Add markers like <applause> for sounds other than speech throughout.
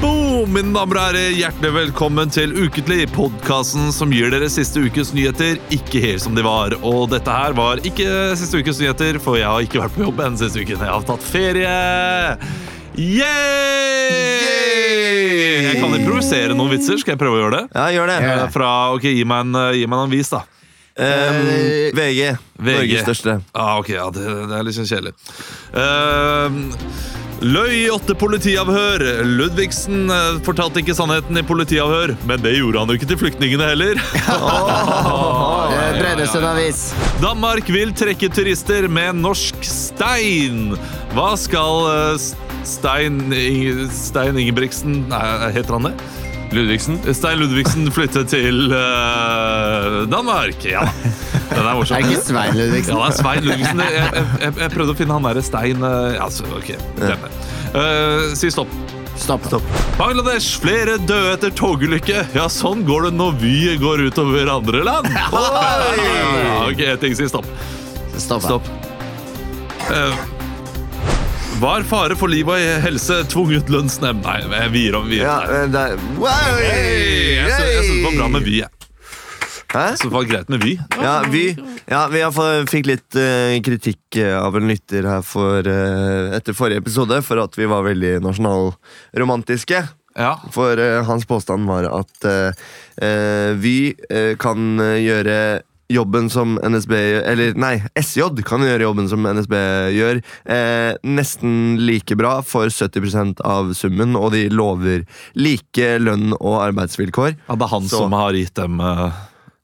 Boom, mine damer og herrer, hjertelig velkommen til Uketlig, podkasten som gir dere siste ukes nyheter ikke helt som de var. Og dette her var ikke siste ukes nyheter, for jeg har ikke vært på jobb enn siste uken. Jeg har tatt ferie! Yeah! Jeg kan improvisere noen vitser. Skal jeg prøve å gjøre det? Ja, gjør det. Eh, Fra, ok, Gi meg en, eh, gi meg en avis, da. Eh, VG. Norges største. Ah, ok, ja, det, det er litt sånn kjedelig. Ehm, løy i åtte politiavhør. Ludvigsen eh, fortalte ikke sannheten i politiavhør, men det gjorde han jo ikke til flyktningene <laughs> heller. Eh, Brønnøysund avis. Danmark vil trekke turister med norsk stein. Hva skal eh, S- Stein, Inge- Stein Ingebrigtsen Nei, heter han det? Ludvigsen. Stein Ludvigsen flytte til eh, Danmark. Ja, den er morsom. Er det ikke Svein Ja, Ludvigsen? det er Svein Ludvigsen. Jeg, jeg, jeg, jeg prøvde å finne han derre Stein eh, ja, så, Ok, glem det. Eh, si stopp. Stopp. Bangladesh, flere døde etter togulykke. Ja, sånn går det når vi går utover andre <laughs> land. Ja, ok, jeg tenker si stopp. Stopp. Stopp. Eh, var fare for liv og helse tvunget lønnsnemnd? Nei, jeg vier om vier. Ja, eh, der. Wow! Hey, jeg sy- jeg syns det var bra med vi. jeg. Hæ? Jeg synes det var greit med vi. Ja, vi, ja, vi har fått, fikk litt eh, kritikk eh, av en lytter her for, eh, etter forrige episode for at vi var veldig nasjonalromantiske. Ja. For eh, hans påstand var at eh, eh, vi eh, kan eh, gjøre jobben som NSB gjør Eller nei, SJ kan gjøre jobben som NSB gjør, eh, nesten like bra for 70 av summen, og de lover like lønn og arbeidsvilkår. Ja, det er han Så- som har gitt dem eh,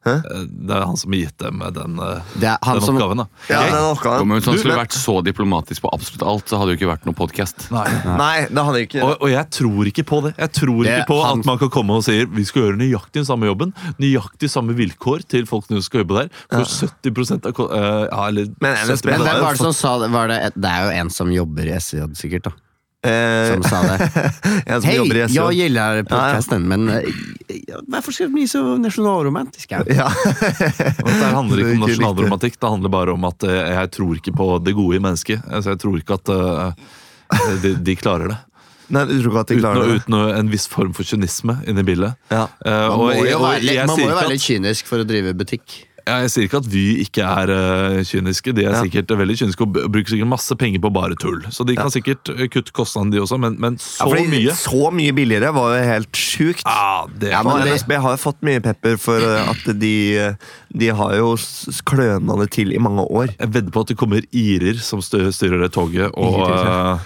Hæ? eh, Det er han som har gitt dem eh, den, eh, Det er han den som oppgaven, da. Ja, Jeg- den Om oppgaven. hun sånn Du, skulle men- vært så diplomatisk på absolutt alt, så hadde det jo ikke vært noen podkast. Nei. Nei, det hadde ikke Og, og jeg tror ikke på det. Jeg tror Det er ikke på han- at man kan komme og si vi skal gjøre nøyaktig den samme jobben, nøyaktig samme vilkår til folk som skal jobbe der, for 70 av ko- eh, Ja, eller Men NSB 70% Men hvem har jo var det som sa det? Var det, det er jo en som jobber i SJ, sikkert, da. eh, Sånn. Som sa det. En som Hei, jobber i SJ. jeg gillar podcasten, men eh, hvorfor skal det bli så nasjonalromantisk? her? <laughs> Ja. Og Det her <laughs> handler Det er ikke om ikke riktig. nasjonalromantikk, det handler bare om at eh, jeg tror ikke på det gode i mennesket. Altså, jeg tror ikke at eh, de, de klarer det. Nei, du tror ikke at de Uten, klarer det? uten en viss form for kynisme inni bildet. Ja. Eh, Man og må jeg- jo og være litt, jeg man må sier jo ikke at- være litt kynisk for å drive butikk. Ja, jeg sier ikke at Vy ikke er eh, kyniske. De er Ja. sikkert eh, veldig kyniske og b- bruker sikkert masse penger på bare tull. Så de kan sikkert eh, kutte kostnadene, de også, men, men så fordi mye Så mye billigere var jo helt sjukt. ah, det, Ja, men det- NSB har jo fått mye pepper for eh, at de, de har jo s- kløna det til i mange år. Jeg vedder på at det kommer irer som styr, styrer det toget, og, eh,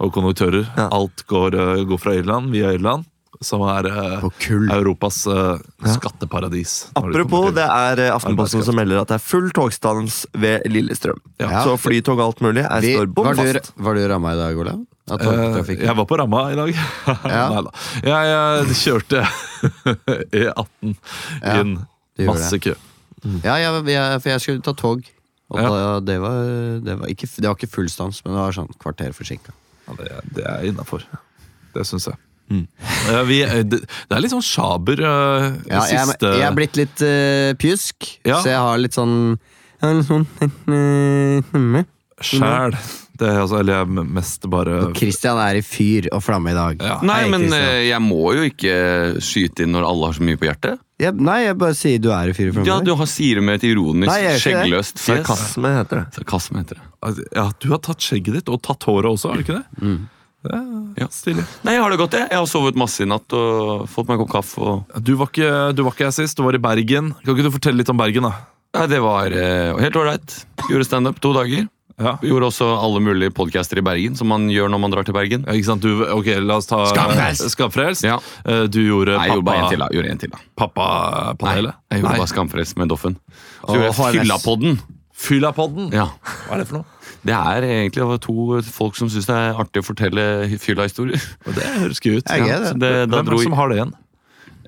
og konduktører. Ja. Alt går, eh, går fra Irland via Irland, som er eh, På kull. Europas eh, skatteparadis. når det kommer Apropos, til- det er eh, Aftenposten Arbeidskraft. som melder at det er full togstans ved Lillestrøm. Ja. Så flytog og alt mulig er, Vi, står bom var, du, fast. var du ramma i dag, Olav? Av Eh, togtrafikken? jeg var på ramma i dag. <laughs> Ja. Neida. Jeg, eh, kjørte <laughs> E18 Ja, inn. du gjorde Masse kø. Ja, jeg, jeg, for jeg skulle ta tog. Og Ja. da, det, var, det, var ikke, det var ikke full stans, men det var sånn kvarter forsinka. Ja, det, er- det er innafor. Det syns jeg. Mm. Eh, Vi, eh, det, det er litt sånn sjaber eh, det Ja, jeg, siste jeg er blitt litt eh, pjusk, Ja. så jeg har litt sånn jeg har litt sånn eh, stemme. sjæl. Det er altså, eller jeg er mest bare Og Christian er i fyr og flamme i dag. Ja. Nei, Hei, men Christian. eh, jeg må jo ikke skyte inn når alle har så mye på hjertet. jeg, Nei, jeg bare sier du er i fyr og flamme. Ja, du har sier med et ironisk, Nei, jeg gjør ikke det. skjeggløst fjes. Sarkasme heter det. Sarkasme heter det. Altså, Ja, du har tatt skjegget ditt, og tatt håret også, har du ikke det? Mm. Det Ja. er stilig. Nei, jeg har det godt, jeg. Jeg har sovet masse i natt og fått meg en kopp kaffe. Og... Du var, ikke, du var ikke her sist, du var i Bergen. Kan ikke du fortelle litt om Bergen, da? Nei, det var eh, helt ålreit. Gjorde standup to dager. Ja. Vi gjorde også alle mulige podcaster i Bergen, som man gjør når man drar til Bergen. Ja, Ikke sant, du, ok, la oss ta Skamfrelst. Skamfrelst. Ja. Eh, Du gjorde Nei, jeg gjorde bare en til, pappa- da. Gjorde en til, da. pappapanelet. Nei, jeg gjorde Nei. bare Skamfrelst med Doffen. Så Og gjorde jeg HMS. Fyllapodden. Fyllapodden. Ja. Hva er det for noe? Det er egentlig det var to folk som syns det er artig å fortelle fyllahistorier. Og Det høres gøy ut. Jeg er Så det. det, da Hvem er dro, det som har det igjen?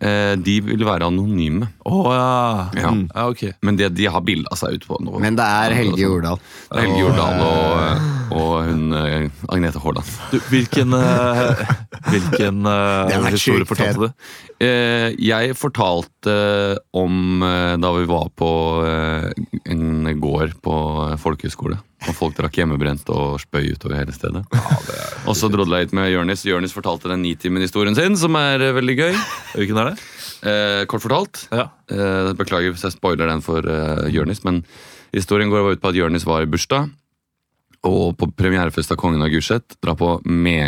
eh, de vil være anonyme. Å ja. Ja. ja. Ok. Men det, de har bilda seg ut på nå. Men det er Helge Jordal. Det er Helge Jordal og, og hun eh, Agnete Haaland. Du, hvilken eh, hvilken <laughs> eh, Det har vært historie sjukt fortalte du? Eh, jeg fortalte om eh, da vi var på eh, en gård på eh, folkehøyskole. Og folk drakk hjemmebrent og spøy utover hele stedet. og så drodla jeg litt med Jørnis. Jørnis fortalte den nitimen-historien sin, som er eh, veldig gøy. Hvilken er det? Eh, kort fortalt. Ja. Eh, beklager hvis jeg spoiler den for eh, Jørnis, men historien går ut på at Jørnis var i bursdag. Og på premierefest av Kongen av Gulset. Drar på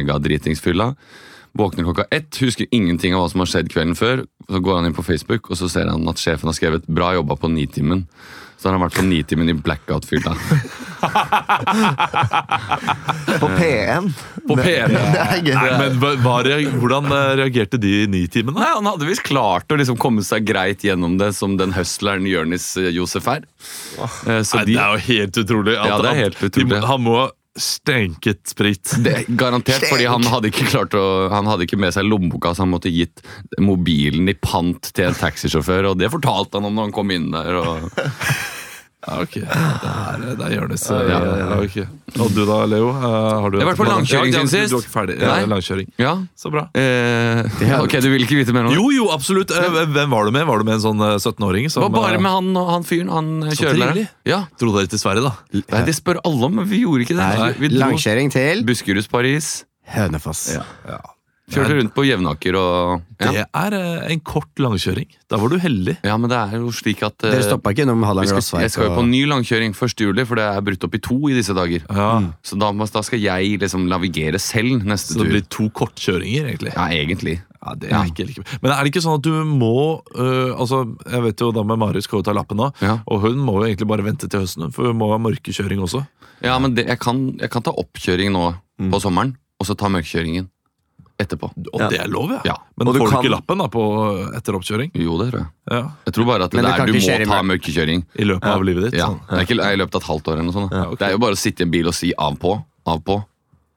megadritingsfylla. Våkner klokka ett, husker ingenting av hva som har skjedd kvelden før. Så går han inn på Facebook, og så ser han at sjefen har skrevet 'bra jobba på nitimen'. Så har han vært på nitimen i blackout-fylla. På P1. På <laughs> P1. Det er gøy. Nei, men hva, hva, reag- Hvordan eh, reagerte de i nitimene? <laughs> Nei, Han hadde visst klart å liksom komme seg greit gjennom det som den hustleren Jørnis eh, Josef er. Eh, så Nei, de- Det er jo helt utrolig. at- Ja, det er helt at de må- utrolig. han må ha stenket sprit. Det, garantert, fordi han hadde ikke klart å, Han hadde ikke med seg lommeboka, så han måtte gitt mobilen i pant til en taxisjåfør, og det fortalte han om når han kom inn der. <laughs> Og, Ja, <laughs> ok. Det er, det er Jonis. eh, Ja, ja, ok. Og du da, Leo? Eh, har du Jeg har vært på langkjøring Ja, siden du- sist. Du er ikke ferdig. Ja, Nei. langkjøring. ja, Så bra. eh, Ok, du vil ikke vite mer om det? Jo, jo, absolutt. Eh, Hvem var du med? Var du med en sånn eh, 17-åring? Det som, var bare eh, med han, og han fyren, han kjørelæreren. trivelig. Ja. Dro dere til Sverige, da? Nei, det spør alle om, men vi gjorde ikke det. Nei, vi dro Langkjøring til Buskerus, Paris. Hønefoss. Kjørte rundt på Jevnaker og ja. Det er eh, en kort langkjøring. Da var du heldig. ja, men det er jo slik at eh, Dere stoppa ikke innom vi Halland skal, Glassverk? Jeg skal jo på og- ny langkjøring 1. juli, for det er brutt opp i to i disse dager. Mm. Ja. Så da, må- da skal jeg liksom navigere selv neste Så det tur. blir to kortkjøringer, egentlig. Ja, egentlig. Ja, det Ja. er ikke like Men er det ikke sånn at du må øh, Altså, Jeg vet jo da med Marius skal jo ta lappen nå, Ja. og hun må jo egentlig bare vente til høsten, for hun må ha mørkekjøring også. Ja, men det, jeg, kan, jeg kan ta oppkjøring nå på sommeren, og så ta mørkekjøringen etterpå. Og Ja. det er lov, ja. Ja. Men Og du får du kan- ikke lappen da på øh, etter oppkjøring? Jo, det tror jeg. Ja. Jeg tror bare at Men det du kan er, ikke du må kjøre i ta mørk- mørkekjøring. I løpet av livet ditt? Ja. Sånn. Det er ikke i løpet av et halvt år eller noe sånt. da. Ja, ok. Det er jo bare å sitte i en bil og si av på, av på.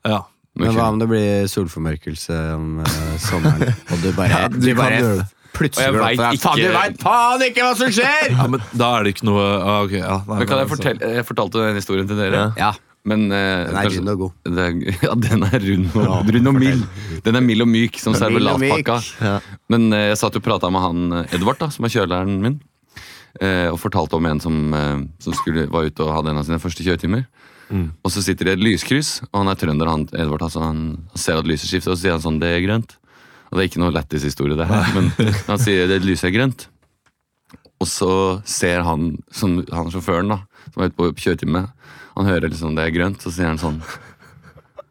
ja. Men hva mørkekjøring. om det blir solformørkelse om eh, sommeren, <laughs> og du bare, Ja, du du kan bare gjøre det. plutselig Og jeg går opp vet der, ikke- Faen, du veit faen ikke hva som skjer! ja, men da er det ikke noe ah, ok, ja, nei, Men kan men jeg, altså- fortelle, jeg fortalte den historien til dere, Ja. Ja, men eh, den er kanskje- rund og god. det er, <laughs> ja, den er rund og, rund og mild. Den er mild og myk, som servelatpakka. Ja. Men eh, jeg satt og prata med han eh, Edvard, da, som er kjørelæreren min, eh, og fortalte om en som, eh, som skulle, var ute og hadde en av sine første kjøretimer. Og så sitter det et lyskryss, og han er trønder, han Edvard. Altså, han, han ser at lyset skifter, og så sier han sånn Det er grønt. Og det er ikke noe lættis historie, det her, men han sier det lyset er grønt. Og så ser han, som, han sjåføren, da, som er ute på kjøretime, han hører liksom det er grønt, så sier han sånn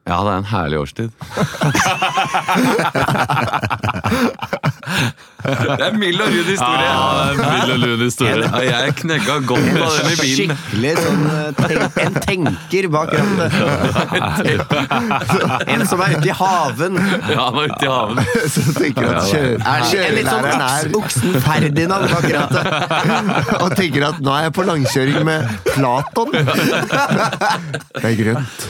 Ja, det er en herlig årstid. det er mild og rund historie. Ja, det er en vill og lun historie. Ja, jeg knegga godt på den i bilen. Skikkelig sånn eh, tenk, En tenker bak <laughs> rattet. sånn. En som er ute i haven. Ja, han var ute i haven. Så tenker jeg at kjø- Er en litt sånn kjørelæreren er oks- oksen <laughs> Ferdinand bak rattet. Og tenker at nå er jeg på langkjøring med Platon. Det er grønt.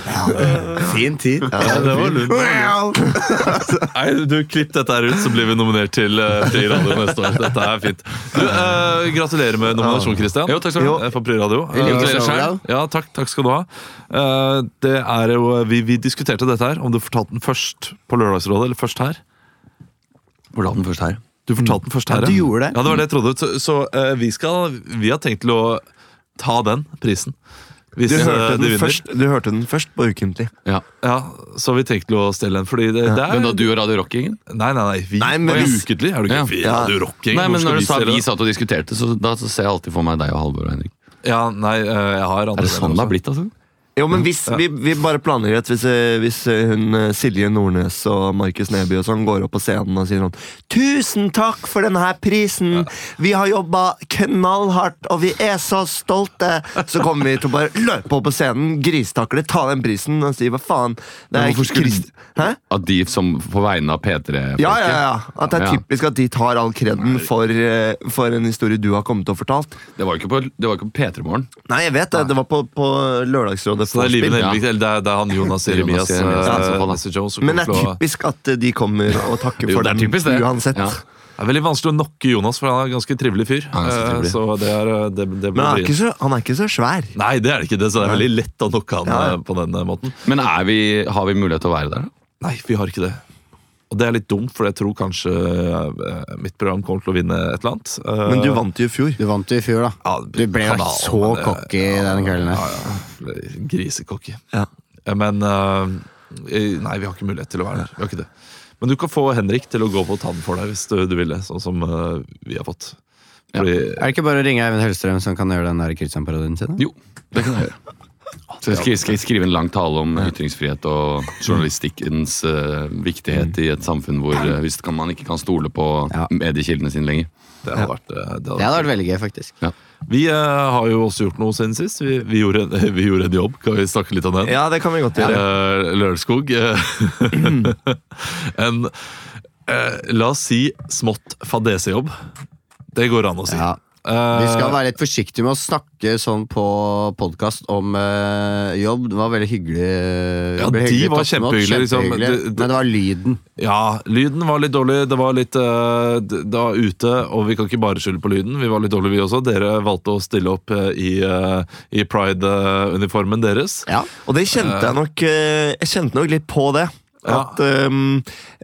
Fin tid. Ja, det var lun. Wow. Nei, du Klipp dette her ut, så blir vi nominert til uh, Priradio neste år. Dette er fint. Du, eh, gratulerer med nominasjon, Christian. Jo, takk skal du ha. Eh, For Priradio. I like Eh, måte, Olav. Ja, takk, takk skal du ha. Eh, det er jo, eh, vi, vi diskuterte dette her, om du fortalte den først på Lørdagsrådet, eller først her. Hvor la den først her? Du fortalte den først her. du gjorde det. Ja, det var det jeg trodde. Så, så eh, vi, skal, vi har tenkt til å ta den prisen. Hvis Du eh, hørte de den vinner. først, du hørte den først på Ukentlig. Ja. Ja, så har vi tenkt til å stelle den. Fordi det, det er Men da du og Radio Rock-gjengen? Nei, nei, nei. Vi Nei, nei, men hvis- ukentlig. Er du ikke Ja. vi- Ja. Radio Rock Gang, Nei, hvor men skal når du sa stelle vi den? satt og diskuterte, så, da, så ser jeg alltid for meg deg og Halvor og Henrik. Ja, nei, eh, jeg har andre Er det sånn venner også. det har blitt, altså? Jo, men hvis, vi, vi bare planlegger at hvis, eh, hvis eh, hun eh, Silje Nordnes og Markus Neby og sånn går opp på scenen og sier sånn Tusen takk for denne her prisen! Vi har jobba knallhardt, og vi er så stolte! Så kommer vi til å bare løpe opp på scenen, grisetakle, ta den prisen og si hva faen Det Men er hvorfor skulle- Krist... Hæ? At de som på vegne av P3 Ja, ja, ja. At det er Ja. typisk at de tar all kreden for, eh, for en historie du har kommet og fortalt. Det var jo ikke på, det var ikke på P3-morgen. Nei, jeg vet det. Det var på, på Lørdagsrådet. Så det er Vorspiel. Liven Elvik, eller det er, det er han Jonas Jeremias. eh, Jeremias, ja, så får da. Nessie Jones, som Men det kommer er til å- typisk at eh, de kommer og takker Jo, for det er den typisk det. uansett. Ja. Det er veldig vanskelig å nokke Jonas, for han er en ganske trivelig fyr. Han er ganske Eh, trivelig. Så det er, eh, det, det blir Men han er, vrient. ikke så, han er ikke så svær. Nei, det er det ikke. Det, så det er veldig lett å nokke han Ja, ja. eh, på den eh, måten. Men er vi, har vi mulighet til å være der? da? Nei, vi har ikke det. Og det er litt dumt, for jeg tror kanskje eh, mitt program kommer til å vinne et eller annet. Eh, Men du vant jo i fjor. Du vant jo i fjor, da. ja, Du ble jo kanal, så men det- cocky den kvelden. eh. her. Ja, ja. Ble Grisekokke. Ja. Eh, Men eh, eh, Nei, vi har ikke mulighet til å være der. Vi har ikke det. Men du kan få Henrik til å gå på tann for deg hvis du, du vil det, sånn som eh, vi har fått. Fordi, Er det ikke bare å ringe Eivind Hellstrøm, som kan gjøre den der Kristian-parodien sin? da? Jo, det kan jeg gjøre. Så jeg skal, skal jeg skrive en lang tale om ytringsfrihet og journalistikkens eh, viktighet i et samfunn hvor eh, hvis kan, man ikke kan stole på Ja. mediekildene sine lenger. det hadde vært, eh, det hadde Det hadde vært veldig gøy, faktisk. Vi eh, har jo også gjort noe siden sist. Vi, vi, gjorde, en, <laughs> vi gjorde en jobb. Kan vi snakke litt om den? Ja, det kan vi godt gjøre. Eh, Lørenskog. <laughs> eh, en eh, la oss si smått fadesejobb. Det går an å si. Ja. Eh, Vi skal være litt forsiktige med å snakke sånn på podkast om eh, jobb. Det var veldig hyggelig. Ja, ble de hyggelig var tatt imot, kjempehyggelig, liksom. kjempehyggelig. Det- det- Men det var lyden. ja, lyden var litt dårlig. Det var litt eh, d- Det var ute, og vi kan ikke bare skylde på lyden. Vi var litt dårlige, vi også. Dere valgte å stille opp eh, i, eh, i pride-uniformen deres. Ja. Og det kjente jeg nok eh, Jeg kjente nok litt på det. Ja. At ehm,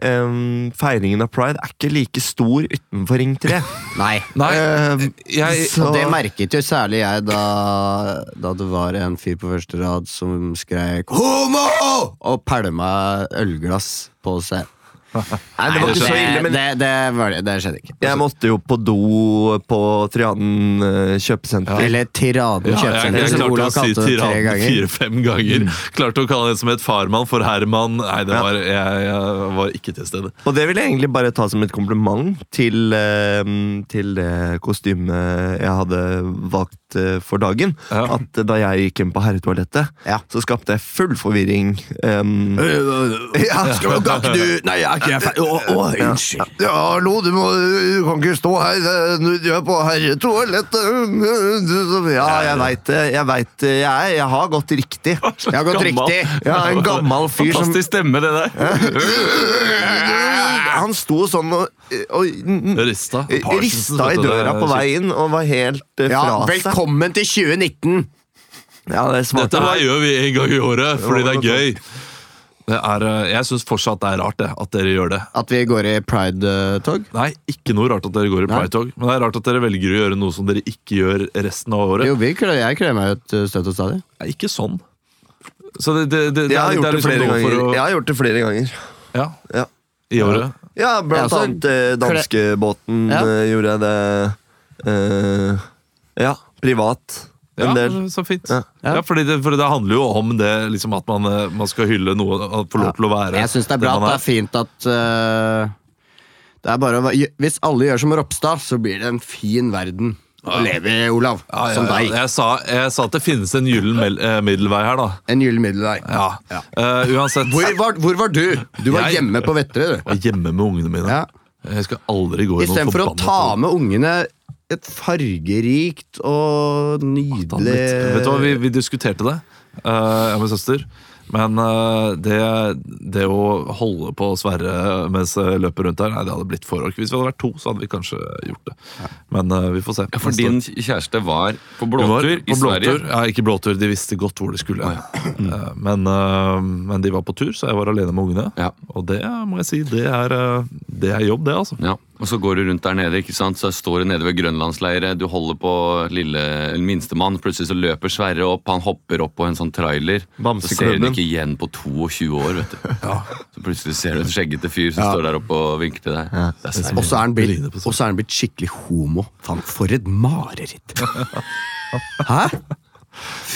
ehm, feiringen av pride er ikke like stor utenfor Ring 3. Nei. Nei, Ehm, jeg så- Og det merket jo særlig jeg da, da det var en fyr på første rad som skrek 'homo!' og pælma ølglass på seg. Nei, det var Nei, ikke så ille, men det, det, var, det skjedde ikke. jeg måtte jo på do på Trianen eh, kjøpesenter. Altså, Eller Tiraden Ja, jeg, kjøpesenter, jeg som klarte å Olav si kalte det tre tyrann ganger. fire-fem ganger. Klarte å kalle en som het farmann for herman. Nei, det var, jeg, jeg var ikke til stede. Og det vil jeg egentlig bare ta som et kompliment til, eh, til det kostymet jeg hadde valgt eh, for dagen. Ja. At eh, da jeg gikk inn på herretoalettet, Ja. Øh, så skapte jeg full forvirring. Um, Ja, skal du, kan ikke du Nei, jeg er ikke jeg ferdig. Å, å, unnskyld. ja, hallo, du, kan ikke stå her, eh, du er på herretoalettet. Ja, jeg veit det. Jeg veit det. Jeg, er- jeg har gått riktig. Jeg har gått Gammel. riktig. Jeg er en gammel fyr som Fantastisk stemme, det der! Han sto sånn og, og Rista. Parsons, Rista i vet du, det døra er på kjipt. vei inn og var helt eh, Ja, fra seg. velkommen til 2019! Ja, det Dette svarte her var gjør vi en gang i året fordi det Det er var gøy. Det er, eh, jeg syns fortsatt det er rart det, at dere gjør det. At vi går i pride-tog. Nei, ikke noe rart at dere går i Pride-tog, men det er rart at dere velger å gjøre noe som dere ikke gjør resten av året. Jo, vi klør, jeg klør meg ut eh, støtt og stadig. Det er ikke sånn. Så det, det, det, det, Jeg har er, det gjort er det liksom flere noe ganger. for å Jeg har gjort det flere ganger. Ja, Ja. i året. Ja, Ja, blant så- annet eh, danskebåten Ja. eh, gjorde jeg det eh, Ja, privat. En Ja, del. så fint. Ja. Ja. fordi det, for det handler jo om det liksom at man, eh, man skal hylle noe, at få lov til å være Jeg syns det er bra at man det er fint at eh, det er bare å, være- Hvis alle gjør som Ropstad, så blir det en fin verden å leve i, Olav. Ja, ja, Som ja. deg. Jeg sa, jeg sa at det finnes en gyllen mel- eh, middelvei her, da. En gyllen middelvei. Ja. Eh, uansett. Hvor var, hvor var du? Du var Jeg- hjemme på Vetterøy, du. Jeg var hjemme med ungene mine. Ja. Jeg skal aldri gå i noen Istedenfor å forbannet ta tog. med ungene et fargerikt og Faen, nydelig litt. Vet du hva, vi, vi diskuterte det, eh, jeg og min søster. Men eh, det, det å holde på å sverre mens jeg løper rundt her, nei, det hadde blitt for ork. Hvis vi hadde vært to, så hadde vi kanskje gjort det. Men eh, vi får se. Ja, for Neste år. din kjæreste var på Hun var blåtur på i Sverige. blåtur. Ja, ikke blåtur, de visste godt hvor de skulle. Eh, Men, eh, men de var på tur, så jeg var alene med ungene. Ja. Og det må jeg si, det er, eh, det er jobb, det, altså. Ja, og så går du rundt der nede, ikke sant? så står du nede ved Grønlandsleiret, du holder på lille eller minstemann, plutselig så løper Sverre opp, han hopper opp på en sånn trailer, så ser du Bamseklubben. den ikke igjen på 22 år, vet du. Så plutselig ser du en skjeggete fyr som står der oppe og vinker til deg. Det er så Og så er han blitt, Bryne på seg. og så er han blitt skikkelig homo. Faen, for et <laughs> mareritt! Hæ?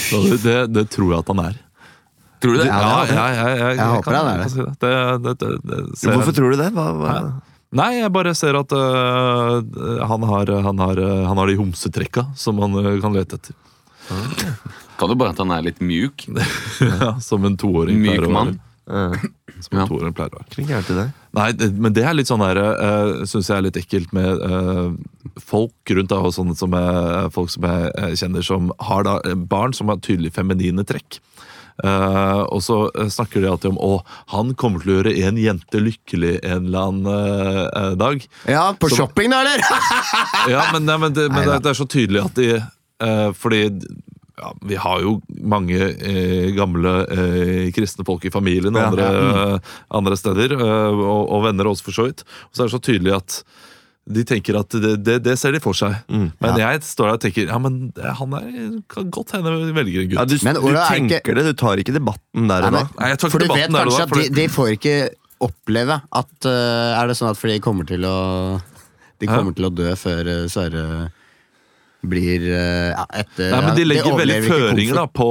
Så det, det tror jeg at han er. Tror du det? Ja, ja, ja, ja, jeg håper kan- det er jeg kan det. si det. Det, det, det, det ser Hvorfor tror du det? Hva, hva? Hæ? Nei, jeg bare ser at øh, han, har, han, har, han har de homsetrekka som man øh, kan lete etter. <laughs> Kan jo bare at han er litt mjuk. Ja, som en toåring Myk pleier å mann. være. Eh, Som en Ja. toåring pleier å være. Klink gærent til deg. Nei, det, men det er litt sånn der uh, Syns jeg er litt ekkelt med eh, folk rundt da, og sånne som jeg, folk som jeg eh, kjenner som har da eh, barn som har tydelig feminine trekk. Eh, og så eh, snakker de alltid om å, han kommer til å gjøre en jente lykkelig en eller annen eh, eh, dag. Ja, på Så- shopping, da, eller? Ja, men, nei, men, det, men det, Neida. det er så tydelig at de eh, Fordi ja, vi har jo mange eh, gamle eh, kristne folk i familien og Ja, Mm. andre, eh, andre steder, eh, og, og venner også, for så vidt. Og så er det så tydelig at de tenker at det, det, det ser de for seg. Mm. Men jeg står der og tenker ja, men det- han er, kan godt hende velger en gutt. Ja, du, Men du Ola, er tenker ikke- det, du tar ikke debatten der og da. Nei, Nei, jeg tar ikke for du vet debatten der og da, kanskje at de, fordi- de får ikke oppleve at eh, Er det sånn at fordi de kommer til å De kommer til å dø før eh, Sverre blir eh, ja, etter Nei, men De legger veldig overlever ikke føringer da, på,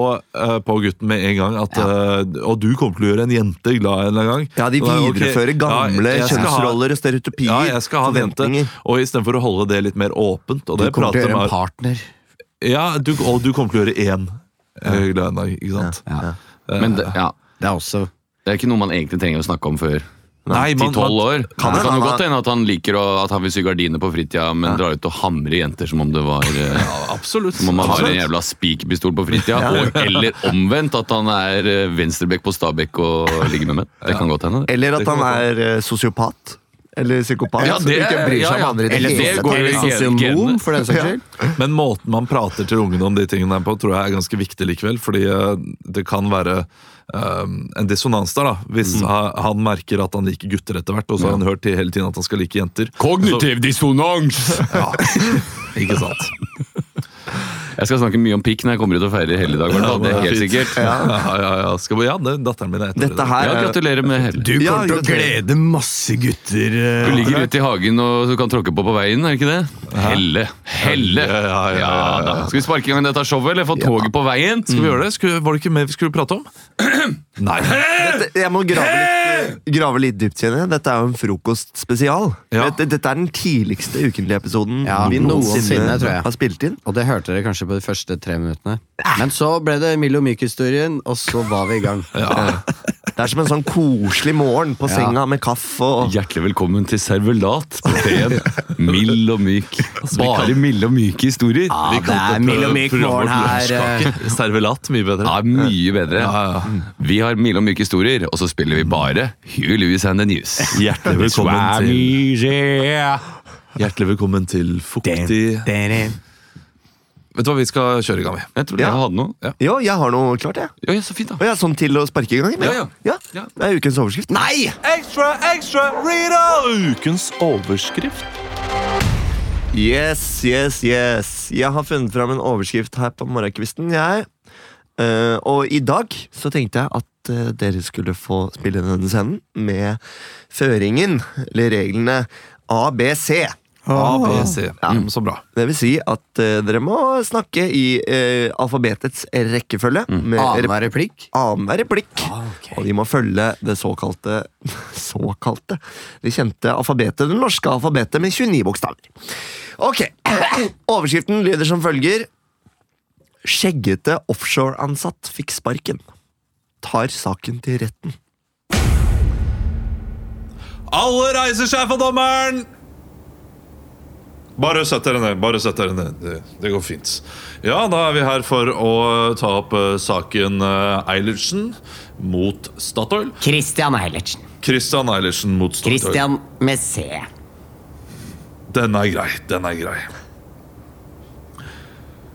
eh, på gutten med en gang. At, eh, og du kommer til å gjøre en jente glad en eller annen gang. Ja, De Og da, ok, viderefører gamle ja, jeg skal ha- kjønnsroller og stereotypier. Ja, jeg skal ha en jente. forventninger. Og istedenfor å holde det litt mer åpent og Du det kommer prater til å gjøre en med, partner. ja, du, Og du kommer til å gjøre én eh, glad en dag, ikke sant? Men det, ja, Det er også det er ikke noe man egentlig trenger å snakke om før Nei, man- 10-12 år. Kan det hende kan han jo har- godt hende at han liker å, at han vil sy gardiner på fritida, men drar ut og hamrer jenter som om det var eh, Absolutt. Som om han har en Absolutt. jævla spikerpistol på fritida, og, eller omvendt at han er eh, venstrebekk på Stabekk og ligger med menn. Det kan godt hende. det. Eller Det at kan han godt er eh, sosiopat. Eller psykopat. Ja, som det- ikke bryr seg ja, ja. om andre i det Eller hele det tatt. går jo Eller i gen- sosionom, genene. for den saks skyld. <laughs> Men måten man prater til ungene om de tingene der på, tror jeg er ganske viktig likevel. Fordi eh, det kan være eh, en dissonans der, da. Hvis Mm. ha- han merker at han liker gutter etter hvert, og så har han hørt til hele tiden at han skal like jenter. Kognitiv dissonans! Så, ikke <laughs> sant? Jeg skal snakke mye om pikk når jeg kommer ut og feirer helligdag. i hvert fall. Det er helt fint. sikkert. Ja, ja, ja. ja. Skal vi, ja det, datteren min er etter Dette her Ja, er- gratulerer med hellig. Ja, gratulerer. masse gutter. Du ligger ute i hagen og du kan tråkke på på veien, er det ikke det? Helle! Helle! Ja, ja, ja, ja, ja. Skal vi sparke i gang dette showet, eller få toget på veien? Skal vi gjøre det? Skulle, var det ikke mer vi skulle prate om? <clears throat> Nei. Dette- Jeg må grave litt, grave litt dypt, kjenner jeg. Dette er jo en frokostspesial. Ja. Dette, dette er den tidligste ukentlige episoden Ja, vi noensinne, noensinne tror jeg. har spilt inn. Og det hørte dere kanskje på de første tre minuttene. Men så ble det Milo Myk-historien, og så var vi i <laughs> gang. Det er som en sånn koselig morgen på senga med kaffe og Hjertelig velkommen til Servelat på P1. Mild og myk. Bare milde og myke historier. Ja, Ah, det er Milo Myk-morgen her. Servelat, mye bedre. Ja, mye bedre. Ja, Vi har milde og myke historier, og så spiller vi bare Hugh Lewis and the News. Hjertelig velkommen til, hjertelig velkommen til Fuktig Vet du hva vi skal kjøre i gang med? Jeg tror Ja. dere hadde noe. Ja. Jo, jeg har noe klart, jeg. Ja, ja, så fint, da. Og jeg er sånn til å sparke i gang. men- Ja, ja. ja. Ja. Det er ukens overskrift. Nei! Ekstra, ekstra, Rita! Ukens overskrift. Yes, yes, yes. Jeg har funnet fram en overskrift her på morgenkvisten. Jeg. Eh, og i dag så tenkte jeg at eh, dere skulle få spille denne scenen med føringen, eller reglene ABC. ABC. Mm, så bra. Det vil si at eh, dere må snakke i eh, alfabetets rekkefølge. Mm. Med rep Annenhver replikk. annenhver replikk. Ah, Og de må følge det såkalte <laughs> Såkalte? Det kjente alfabetet, det norske alfabetet med 29 bokstaver. Ok, <clears throat> Overskriften lyder som følger. Skjeggete offshoreansatt fikk sparken. Tar saken til retten. Alle reiser seg for dommeren! Bare sett dere ned. bare sett dere ned. Det, det går fint. Ja, da er vi her for å ta opp eh, saken eh, Eilertsen mot Statoil. Christian Eilertsen. Christian Eilertsen mot Statoil. Christian med C. Den er grei, den er grei.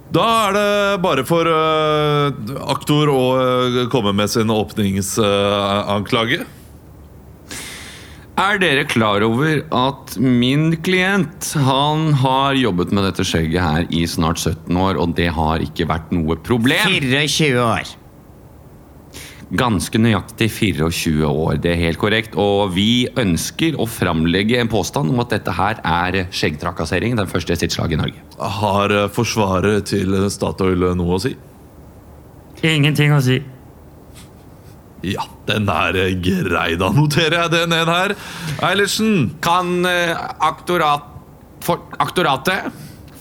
Da er det bare for eh, aktor å eh, komme med sin åpningsanklage. Er dere klar over at min klient han har jobbet med dette skjegget her i snart 17 år, og det har ikke vært noe problem? 24 år. Ganske nøyaktig 24 år, det er helt korrekt. Og vi ønsker å framlegge en påstand om at dette her er skjeggtrakassering. Den første i sitt slag i Norge. Har eh, forsvaret til Statoil noe å si? Ingenting å si. Ja, den er eh, grei, da noterer jeg den en her. Eilertsen! Kan eh, aktorat, for, aktoratet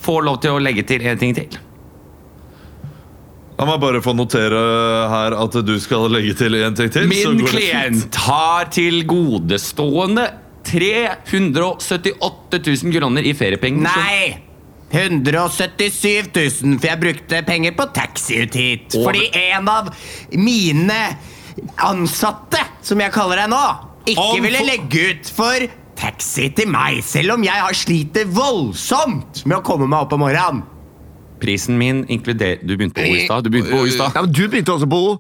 få lov til å legge til en ting til? La meg bare få notere her at du skal legge til en ting til. så går Min det fint. klient har til godestående 378 000 kroner i feriepenger. Nei! 177 000, for jeg brukte penger på taxi ut hit. Fordi en av mine ansatte, som jeg kaller deg nå, ikke Anfor- ville legge ut for taxi til meg, selv om jeg har sliter voldsomt med å komme meg opp om morgenen. Som prisen min inkluderer Du begynte på O i stad. Du begynte på O i stad. Ja, men du begynte også på O.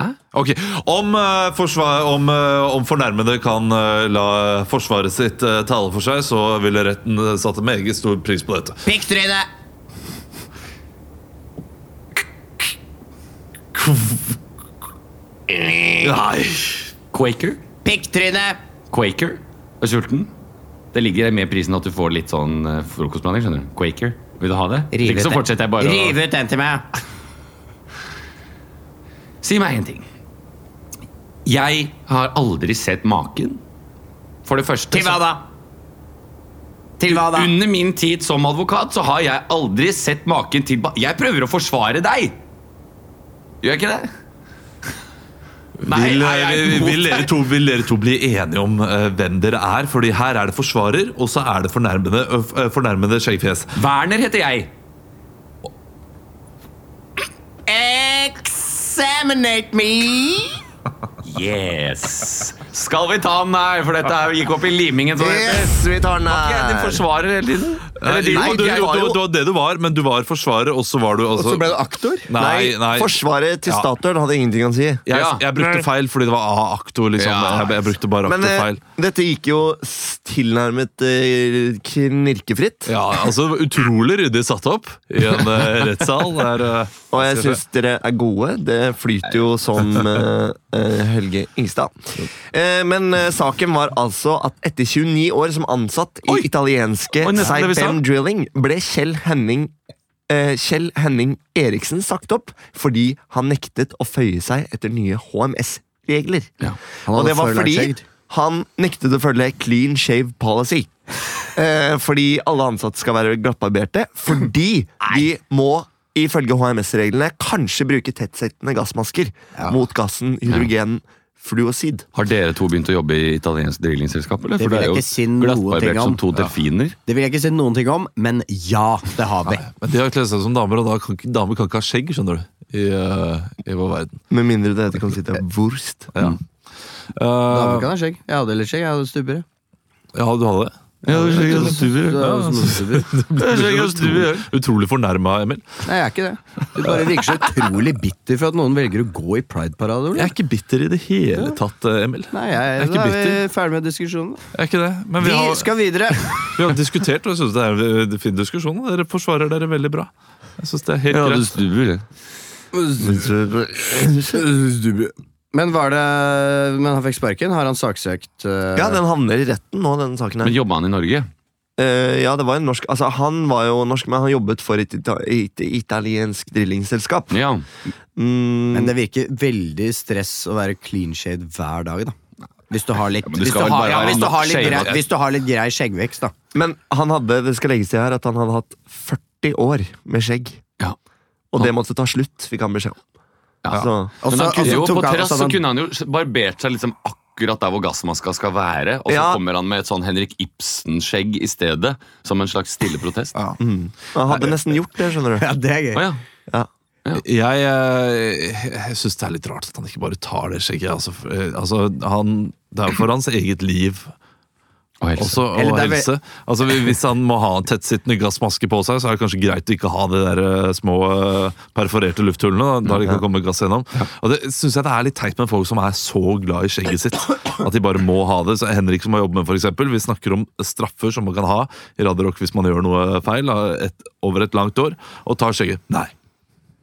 Hæ? Ok, Om, eh, forsvar, om, eh, om fornærmede kan eh, la forsvaret sitt eh, tale for seg, så ville retten eh, satt en meget stor pris på dette. Pikktryne! Nei. Quaker? Pikktryne! Quaker? Er du sulten? Det ligger med prisen at du får litt sånn eh, frokostblanding. skjønner du Quaker. Vil du ha det? Hvis Riv Ikke ut så den. fortsetter jeg bare å Riv ut den til meg. Si meg en ting. Jeg har aldri sett maken. For det første Til hva da? Til hva da? Under min tid som advokat så har jeg aldri sett maken til ba Jeg prøver å forsvare deg! Gjør jeg ikke det? Nei, Vil, nei, jeg er eh, imot vil, dere deg. to, vil dere to bli enige om eh, hvem dere er? Fordi her er det forsvarer, og så er det fornærmede, ø, f- eh, fornærmede skjeggfjes. Werner heter jeg. Examinate me! Yes. Skal vi ta den her, for dette her gikk opp i limingen. Som det heter. Yes, vi tar den Jeg er din her. forsvarer hele tiden. Nei, Eller din, Eh, du, du, jeg var du, jo- du, det du var, men du var forsvarer, og så var du Og altså, så ble du aktor? Nei, nei. Forsvaret til Ja. Statoil hadde ingenting å si. jeg, Ja. jeg brukte feil fordi det var A-aktor. Liksom. Ja. Jeg, jeg brukte bare Men eh, aktor-feil. dette gikk jo s- tilnærmet eh, knirkefritt. Ja, altså Utrolig ryddig satt opp i en eh, rettssal. Der, eh, Og jeg syns dere er gode. Det flyter jo som eh, eh, Helge Ingstad. Eh, men eh, saken var altså at etter 29 år som ansatt i Oi! italienske Oi, nesten det vi sa. Saipem Drilling, ble Kjell Henning eh, Kjell Henning Eriksen sagt opp fordi han nektet å føye seg etter nye HMS-regler. Han Og hadde det var forelagt fordi skjegg. han nektet å følge clean shave policy. Eh, fordi alle ansatte skal være glattbarberte. Fordi de må ifølge HMS-reglene kanskje bruke tettsettende gassmasker mot gassen hydrogen fluosid. Har dere to begynt å jobbe i italiensk drillingselskap? Eller? Det For vil jeg er jo ikke si noe ting glattbarbert om. som to delfiner. Det vil jeg ikke si noen ting om, men ja, det har vi. Men de har kledd seg som damer, og da kan, ikke- damer kan ikke ha skjegg, skjønner du. I, eh, i vår verden. Med mindre det heter konsitter wurst. Damer Eh, kan ha skjegg. Jeg hadde litt skjegg. Jeg hadde stubber. jeg. ja, du hadde det? Ja, du Jeg hadde snottestubber. utrolig, utrolig fornærma, Emil. Nei, jeg er ikke det. Du bare virker så utrolig bitter for at noen velger å gå i Pride-parade. Ole. Jeg er ikke bitter i det hele tatt, eh, Emil. Nei, jeg, Jeg er ikke da er vi bitter. ferdig med diskusjonen. Jeg er ikke det. Men vi Vi har, skal videre. vi har diskutert, og jeg syns det er en eh, fin diskusjon. og Dere forsvarer dere veldig bra. Jeg synes det er helt greit. Men var det Men han fikk sparken? Har han saksøkt eh, Ja, den havner i retten nå, denne saken her. Men jobba han i Norge? Eh, ja, det var en norsk Altså, han var jo norsk, men han jobbet for et, ita et italiensk drillingselskap. Ja. Mm, Men det virker veldig stress å være clean shade hver dag, da. Hvis du har litt, men du hvis du skal vel har, bare ja, ha hvis du nok har litt, shave, grei, da. hvis du har litt grei skjeggvekst, da. Men han hadde, det skal legges til her, at han hadde hatt 40 år med skjegg. Ja. Og det måtte ta slutt, fikk han beskjed om. Ja. Så, Men han Også- kunne også jo, tok på han- terrass også så hadde han- kunne han jo barbert seg liksom akkurat der hvor gassmaska skal være, og så Ja. kommer han med et sånn Henrik Ibsen-skjegg i stedet, som en slags stille protest. Å han hadde nesten gjort det, skjønner du. Ja, det er gøy. ja. Jeg, eh, jeg syns det er litt rart at han ikke bare tar det skjegget. Altså, f- eh, altså, han, det er jo for hans eget liv Og helse. også, og Eller det er vel- helse. Altså, hvi- hvis han må ha en tettsittende gassmaske på seg, så er det kanskje greit å ikke ha de der eh, små eh, perforerte lufthullene. Da, da det kan komme gass gjennom. Og det syns jeg det er litt teit med folk som er så glad i skjegget sitt at de bare må ha det. Så Henrik som har jobbet med, for eksempel, vi snakker om straffer som man kan ha i Radio Rock hvis man gjør noe feil da, et, over et langt år, og tar skjegget. Nei.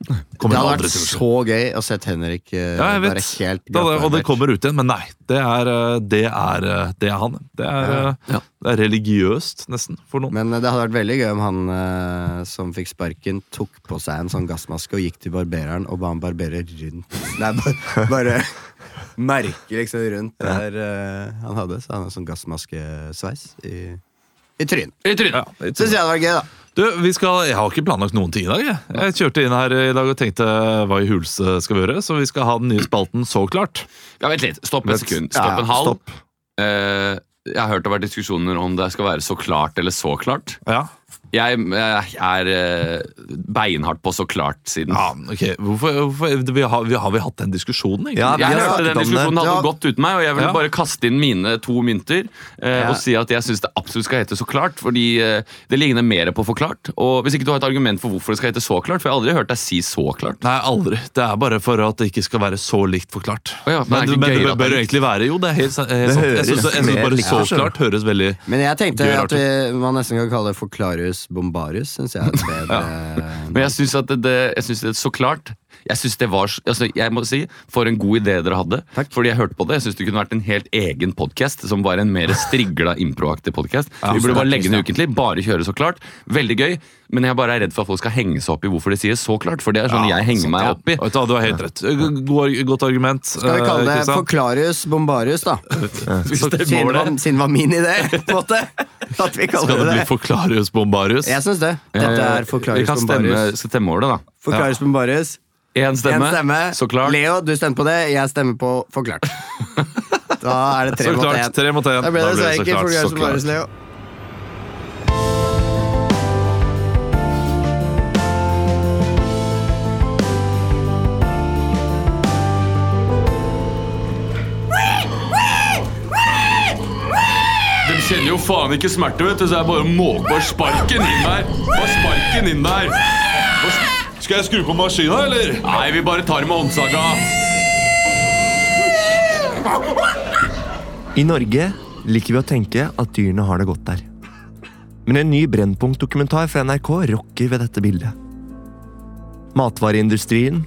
Det Kommer hadde aldri vært til å skje. så gøy å se Henrik eh, Ja, jeg være vet. helt Da, det, og det glattbarbert. kommer ut igjen, men nei. Det er, eh, det er, eh, det er han. Det er, eh, det er religiøst, nesten, for noen. Men eh, det hadde vært veldig gøy om han eh, som fikk sparken, tok på seg en sånn gassmaske og gikk til barbereren og ba han barbere rundt. Nei, bare, bare merke liksom rundt der eh, han hadde. Så han hadde sånn gassmaskesveis i, i trynet. I trynet. Syns jeg det var gøy, da. Du, vi skal, jeg har ikke planlagt noen ting i dag. Jeg, jeg kjørte inn her i dag og tenkte hva i huleste skal vi gjøre, så vi skal ha den nye spalten Så klart. Ja, Vent litt. Stopp et sekund. Stopp en halv. Eh, jeg har hørt det har vært diskusjoner om det skal være så klart eller så klart. Ja. Jeg, eh, er eh, beinhardt på så klart-siden. ja ok, hvorfor, hvorfor vi har, vi har vi hatt den diskusjonen, egentlig? Ja, vi Jeg har hørte snakket den om diskusjonen det. hadde Ja. gått uten meg, og jeg ville Ja. bare kaste inn mine to mynter eh, Ja. og si at jeg syns det absolutt skal hete Så klart, fordi eh, det ligner mer på Forklart. Og hvis ikke du har et argument for hvorfor det skal hete Så klart, for jeg har aldri hørt deg si Så klart. Nei, aldri. Det er bare for at det ikke skal være så likt forklart. Å ja, men men er det det, ikke men det gøyere bør, at det er likt? egentlig være Jo, det er helt, sant- helt Det sant. Jeg høres synes- Jeg syns mer bare likt så ut, skjønner du. klart høres veldig Men jeg tenkte Gøy, at vi, man nesten kan kalle det forklarius bombarius. <laughs> Syns jeg er et bedre Men jeg syns at det, det, jeg synes det Så klart jeg synes det var, så- altså jeg må si, For en god idé dere hadde. Fordi jeg hørte på det. Jeg syns det kunne vært en helt egen podkast. Som var en mer strigla improaktig podkast. Vi burde bare legge den ukentlig. Bare kjøre så klart. Veldig gøy. Men jeg bare er redd for at folk skal henge seg opp i hvorfor de sier så klart. For det er sånn jeg henger meg opp i. Vet du hva, Du har helt rett. God, godt argument. eh, Skal vi kalle det Kristian. forklarius bombarius, da? Siden det var- siden det var min idé, på en måte. At Skal vi kaller det det bli det. Forklarius bombarius? Jeg syns det. Dette er Eh, Vi forklarius kan stemme, bombarius. skal stemme over det, da. Forklarius bombarius. Én stemme, En stemme. så klart. Leo, du stemmer på det. Jeg stemmer på forklart. da er det tre Så mot klart, én. tre mot én. Da ble det så enkelt. Forklarius bombarius, Leo. De kjenner jo faen ikke smerte, vet du, så jeg bare måker sparken inn der. Bare sparken inn der. Skal jeg skru på maskina, eller? Nei, vi bare tar det med håndsaga. I Norge liker vi å tenke at dyrene har det godt der. Men en ny Brennpunkt-dokumentar fra NRK rocker ved dette bildet. Matvareindustrien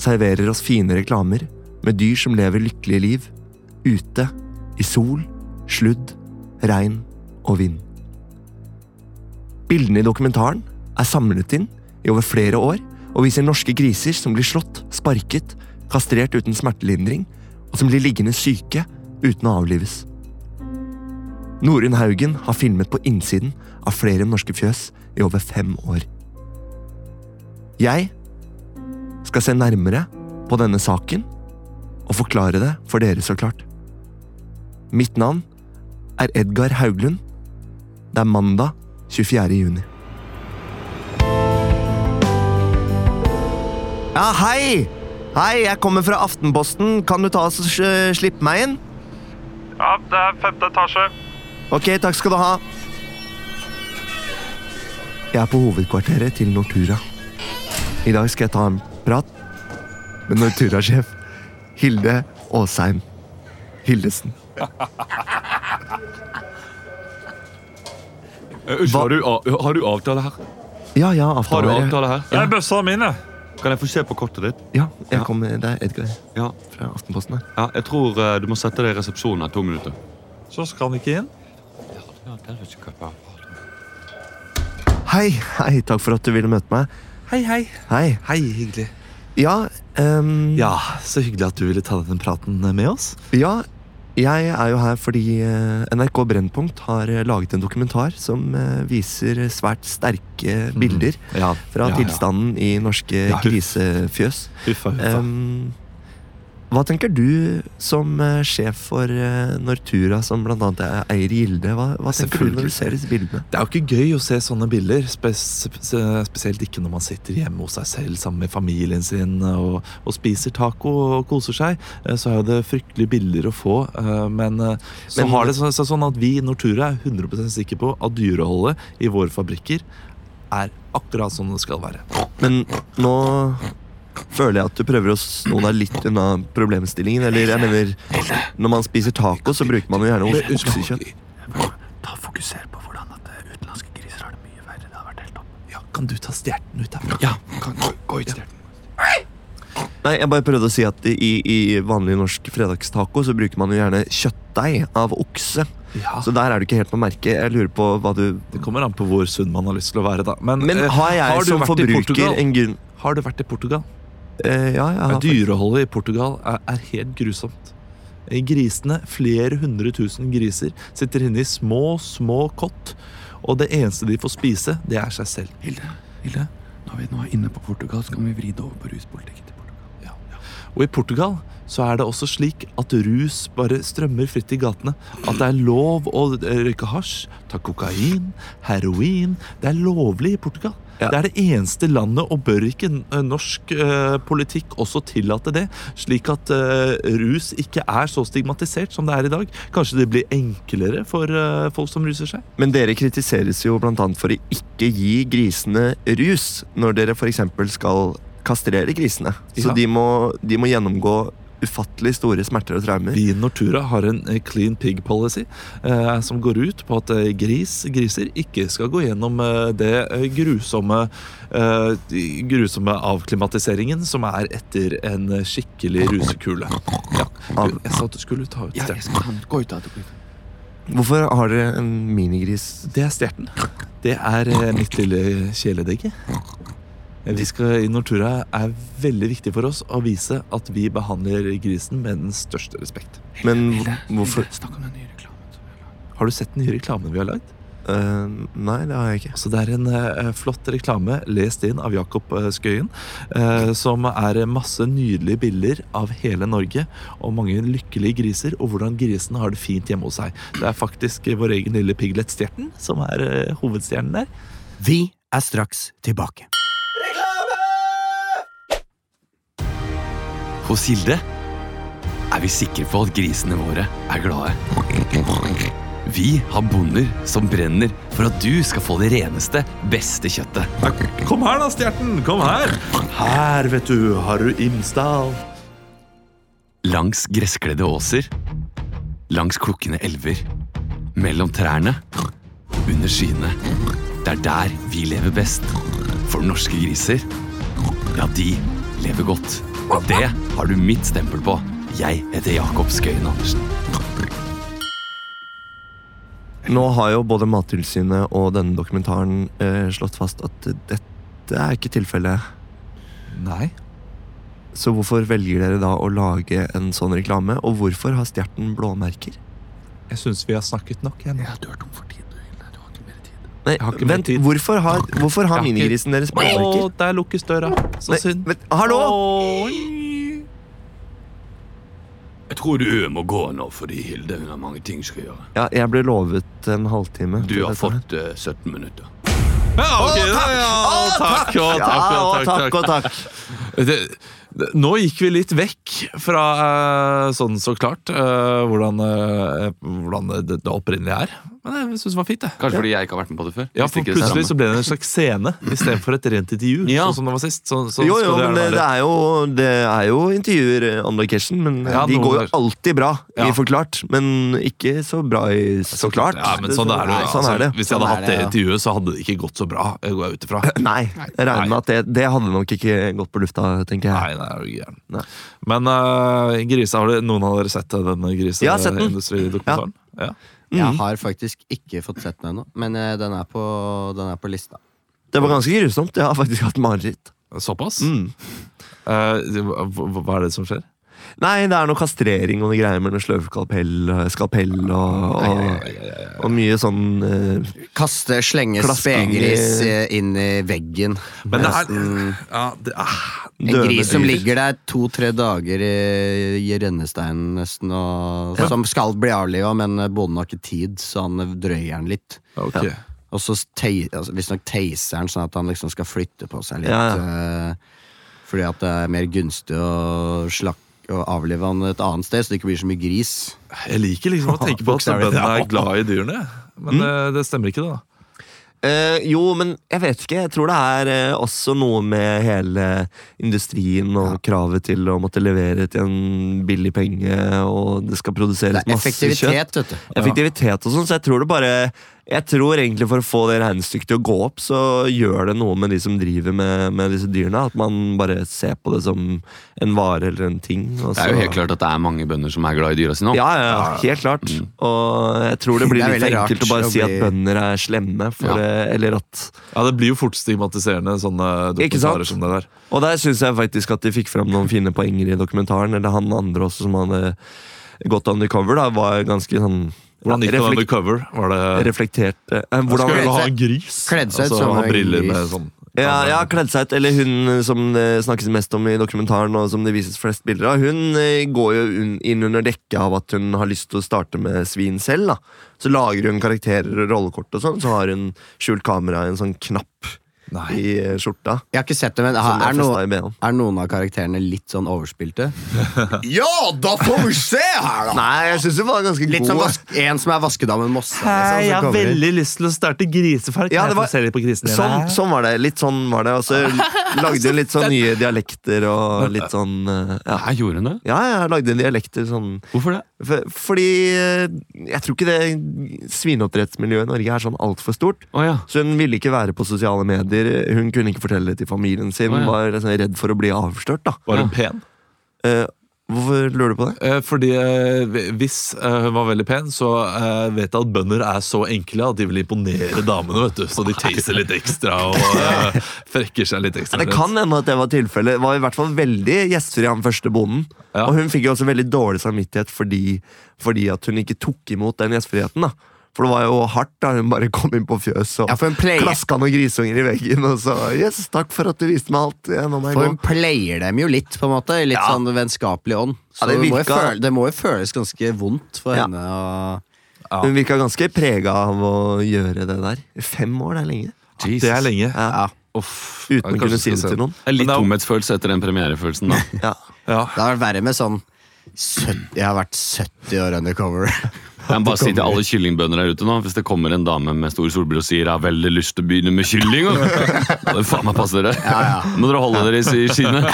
serverer oss fine reklamer med dyr som lever lykkelige liv ute i sol, sludd, regn og vind. Bildene i dokumentaren er samlet inn i over flere år og viser norske griser som blir slått, sparket, kastrert uten smertelindring, og som blir liggende syke uten å avlives. Norunn Haugen har filmet på innsiden av flere norske fjøs i over fem år. Jeg skal se nærmere på denne saken og forklare det for dere, så klart. Mitt navn er Edgar Hauglund. Det er mandag 24. juni. Ja, hei! Hei, jeg kommer fra Aftenposten. Kan du ta oss og eh, slippe meg inn? Ja, det er femte etasje. Ok, takk skal du ha. Jeg er på hovedkvarteret til Nortura. I dag skal jeg ta en prat med Nortura-sjef Hilde Aasheim Hildesen. Eh, Har du, har du avtale her? Ja, ja, Har du avtaler. avtale her? Det er bøssa mine. Kan jeg få se på kortet ditt? Ja, jeg kommer. Det er Edgar Ja. fra Aftenposten her. ja jeg tror eh, du må sette deg i resepsjonen her to minutter. Så skal han ikke inn. Hei, hei, takk for at du ville møte meg. Hei, hei. Hei. Hei, hyggelig. Ja, ehm, Ja, så hyggelig at du ville ta den praten med oss. Ja, jeg er jo her fordi eh, NRK Brennpunkt har eh, laget en dokumentar som eh, viser svært sterke bilder Mm. Ja, fra ja, ja. tilstanden i norske Ja, huff. grisefjøs. Huffa, huffa. Em, hva tenker du som eh, sjef for eh, Nortura, som bl.a. eier Gilde? Hva, hva tenker du når Selvfølgelig. du ser disse bildene? Det er jo ikke gøy å se sånne bilder, spes spe- spesielt ikke når man sitter hjemme hos seg selv sammen med familien sin og, og spiser taco og koser seg. Eh, Så er jo det fryktelige bilder å få. eh, Men eh, så Men- har det så, så sånn at vi i Nortura er 100 sikre på at dyreholdet i våre fabrikker er akkurat som det skal være. Men nå føler jeg at du prøver å sno deg litt unna problemstillingen. Eller jeg mener, når man spiser taco, så bruker man jo gjerne okse- oksekjøtt. Da fokuser på hvordan at eh, utenlandske griser har det mye verre. Det har vært helt opp. Ja, kan du ta stjerten ut derfra? Ja, kan gå, ut stjerten. Nei, jeg bare prøvde å si at i, i vanlig norsk fredagstaco så bruker man jo gjerne kjøttdeig av okse. Ja. Så der er du ikke helt på merket. Jeg lurer på hva du Det kommer an på hvor sunn man har lyst til å være, da. Men, Men eh, har jeg har du som vært i forbruker Portugal? en grunn har du vært i Portugal? Eh, ja, jeg har Dyreholdet i Portugal er, er helt grusomt. Eh, Grisene, flere hundre tusen griser, sitter inne i små, små kott. Og det eneste de får spise, det er seg selv. Hilde, Hilde, når vi nå er inne på Portugal, så kan vi vri det over på ruspolitikken til Portugal. Og i Portugal så er det også slik at rus bare strømmer fritt i gatene. At det er lov å eh, røyke hasj, ta kokain, heroin. Det er lovlig i Portugal. Ja. Det er det eneste landet, og bør ikke n- norsk eh, politikk også tillate det? Slik at eh, rus ikke er så stigmatisert som det er i dag. Kanskje det blir enklere for eh, folk som ruser seg? Men dere kritiseres jo bl.a. for å ikke gi grisene rus når dere f.eks. skal kastrere grisene. Så Ja. de, må, de må gjennomgå ufattelig store smerter og traumer. Vi i Nortura har en eh, clean pig policy eh, som går ut på at eh, gris, griser ikke skal gå gjennom eh, det eh, grusomme, eh, de grusomme avklimatiseringen som er etter en eh, skikkelig rusekule. Ja. Du, jeg sa at du skulle ta ut stjerten. Gå ut av det. Hvorfor har dere en minigris? Det er stjerten. Det er eh, mitt lille kjæledegge. Eh, Vi skal i Nortura er veldig viktig for oss å vise at vi behandler grisen med den største respekt. Men hvorfor Snakk om den nye reklamen. som vi har laget. Har du sett den nye reklamen vi har lagd? Eh, Nei, det har jeg ikke. Så det er en eh, flott reklame lest inn av Jakob eh, Skøyen, eh, som er masse nydelige bilder av hele Norge og mange lykkelige griser, og hvordan grisene har det fint hjemme hos seg. Det er faktisk eh, vår egen lille piglet Stjerten som er eh, hovedstjernen der. Vi er straks tilbake. Hos Hilde er vi sikre på at grisene våre er glade. Vi har bonder som brenner for at du skal få det reneste, beste kjøttet. Kom her da, Stjerten! Kom her! Her, vet du, har du Imsdal. Langs gresskledde åser, langs klukkende elver, mellom trærne, under skyene. Det er der vi lever best. For norske griser, ja, de lever godt. Og det har du mitt stempel på. Jeg heter Jakob Skøyen Andersen. Nå har jo både Mattilsynet og denne dokumentaren eh, slått fast at dette er ikke tilfellet. Nei, Så hvorfor velger dere da å lage en sånn reklame, og hvorfor har stjerten blåmerker? jeg syns vi har snakket nok. Jeg nå. Ja, du er tom for tid, du, Hilde. Du har ikke mer tid. Nei, har ikke mer vent, tid. hvorfor har, hvorfor har Jeg har ikke- minigrisen deres blåmerker? Å, der lukkes døra. Så Nei, synd. vent, hallo! Jeg tror du må gå nå, fordi Hilde hun har mange ting hun skal gjøre. Ja, jeg ble lovet en halvtime. Du til har dette her. fått eh, 17 minutter. Ja, ok, da, ja, å, takk, å, Ja, takk, å, og takk, takk og takk. det, det, nå gikk vi litt vekk fra eh, sånn så klart eh, hvordan, eh, hvordan det, det opprinnelige er. Men jeg syns det var fint, det. Kanskje fordi jeg ikke har vært med på det før. Ja, Hvis for ikke det Plutselig så samme. ble det en slags scene istedenfor et rent intervju. Ja. Sånn som det var sist. Sånn- sånn Jo, skal jo, det men det, det være. er jo, det er jo intervjuer eh, on location, men eh, Ja, de noen går jo der. alltid bra Ja. i Forklart. Men ikke så bra i Så klart. Ja, men sånn er det. jo, Sånn altså, er det. Hvis jeg hadde Sånn er hatt det det, ja. intervjuet, så hadde det ikke gått så bra. Jeg går jeg ut ifra. <laughs> Nei, jeg regner med at det, det hadde nok ikke gått på lufta, tenker jeg. Nei, nei, er du gæren. Nei. Men uh, grisa, har det, noen av dere sett denne Jeg har sett den. griseindustridokumentaren? Ja. Jeg har faktisk ikke fått sett den ennå, men eh, den er på, den er på lista. Det var ganske grusomt. Jeg har faktisk hatt mareritt. Såpass? Mm. Eh, hva- hva hva er det som skjer? Nei, det er noe kastrering og noe greier med noe sløvskalpell og skalpell og, og, og mye sånn eh, Kaste, slenge Klasking i- spegris eh, inn i veggen. Men det er, Nesten ja, det, ah, en gris som dyr. ligger der to-tre dager i, i rennesteinen nesten, og, som skal bli avliva, men bonden har ikke tid, så han drøyer den litt. Ah, ok. Og så tei- altså, visstnok teiser han sånn at han liksom skal flytte på seg litt. Ja, eh, Fordi at det er mer gunstig å slakk og avlive han et annet sted, så det ikke blir så mye gris. Jeg liker liksom å tenke på at Bokstavelig bøndene talt. er glad i dyrene. Men eh, det stemmer ikke, det, da. Eh, jo, men jeg vet ikke. Jeg tror det er eh, også noe med hele industrien og kravet til å måtte levere til en billig penge, og det skal Det produseres er masse kjøtt. effektivitet, vet du. Effektivitet og sånn, så jeg tror det bare Jeg tror egentlig for å få det regnestykket til å gå opp, så gjør det noe med de som driver med, med disse dyrene. At man bare ser på det som en vare eller en ting. og Det er så- jo helt klart at det er mange bønder som er glad i dyra sine òg. Ja, ja, ja, helt klart. Og jeg tror det blir Mm. Det er litt veldig rart enkelt å bare å si at bli- bønder er slemme, for Ja. det, eller at Ja, det blir jo fort stigmatiserende, sånne Ikke sant? dokumentarer som det der. Og der syns jeg faktisk at de fikk fram noen fine poenger i dokumentaren. Eller han andre også som hadde gått undercover, da, var ganske sånn Hvordan gikk det reflek- undercover? Var det reflektert eh, hvordan, Skulle du ha en Kledd gris? kledd seg ut altså, som ha en briller gris. med sånn ja, ja, kledd seg ut, eller hun som det snakkes mest om i dokumentaren, og som det vises flest bilder av, hun eh, går jo un- inn under dekket av at hun har lyst til å starte med svin selv. da. Så lager hun karakterer og rollekort, og sånn, så har hun skjult kamera i en sånn knapp Nei. i eh, skjorta. Jeg har ikke sett det, men Som er, er no, festet i BH-en. er noen av karakterene litt sånn <laughs> overspilte? ja, da får vi se her, Nei, jeg syns hun var ganske sånn Litt som god. altså. vask, en som er vaskedamen Mossa. liksom, som jeg har kommer inn. veldig lyst til å starte grisefark. Ja, det var- se litt på grisene dine Sånn, her. sånn var det. Litt sånn var det. Og så lagde hun litt sånn nye dialekter og litt sånn eh, Ja, Nei, gjorde hun det? ja jeg lagde dialekter sånn Hvorfor det? for, Fordi eh, jeg tror ikke det svineoppdrettsmiljøet i Norge er sånn altfor stort. Å ja. Så hun ville ikke være på sosiale medier. Hun kunne ikke fortelle det til familien sin. Å, ja. Var liksom redd for å bli avslørt, da. Var hun pen? Eh, hvorfor lurer du på det? Eh, Fordi eh, Hvis eh, hun var veldig pen, så eh, vet jeg at bønder er så enkle at de vil imponere damene. vet du Så de taser litt ekstra og <laughs> eh, frekker seg litt ekstra. Det kan hende at det var tilfellet. Det Var i hvert fall veldig gjestfri, han første bonden. Ja. Og hun fikk jo også veldig dårlig samvittighet fordi, fordi at hun ikke tok imot den gjestfriheten. da. For det var jo hardt da hun bare kom inn på fjøset og Ja, for hun pleier- klaska noen grisunger i veggen og sa yes, takk for at du viste meg alt. Ja, nå må jeg For gå. hun pleier dem jo litt, på en måte. I litt Ja. sånn vennskapelig ånd. Ja, Så det det, må jo virka- føle, det må jo føles ganske vondt for Ja. henne. Og, Hun virka ganske prega av å gjøre det der. Fem år, det er lenge. Det er lenge. Ja. Uff, Uten jeg å kanskje kunne si skal det se til den. noen. Det er litt Men tomhetsfølelse etter den <laughs> premierefølelsen, da. Ja. Ja. det har vært verre med sånn 70, Jeg har vært 70 år undercover. Jeg må bare si til alle kyllingbønder der ute nå, hvis det kommer en dame med store solbriller og sier 'jeg har veldig lyst til å begynne med <laughs> kylling', og Da faen meg passe dere. Må dere holde dere i skinnet.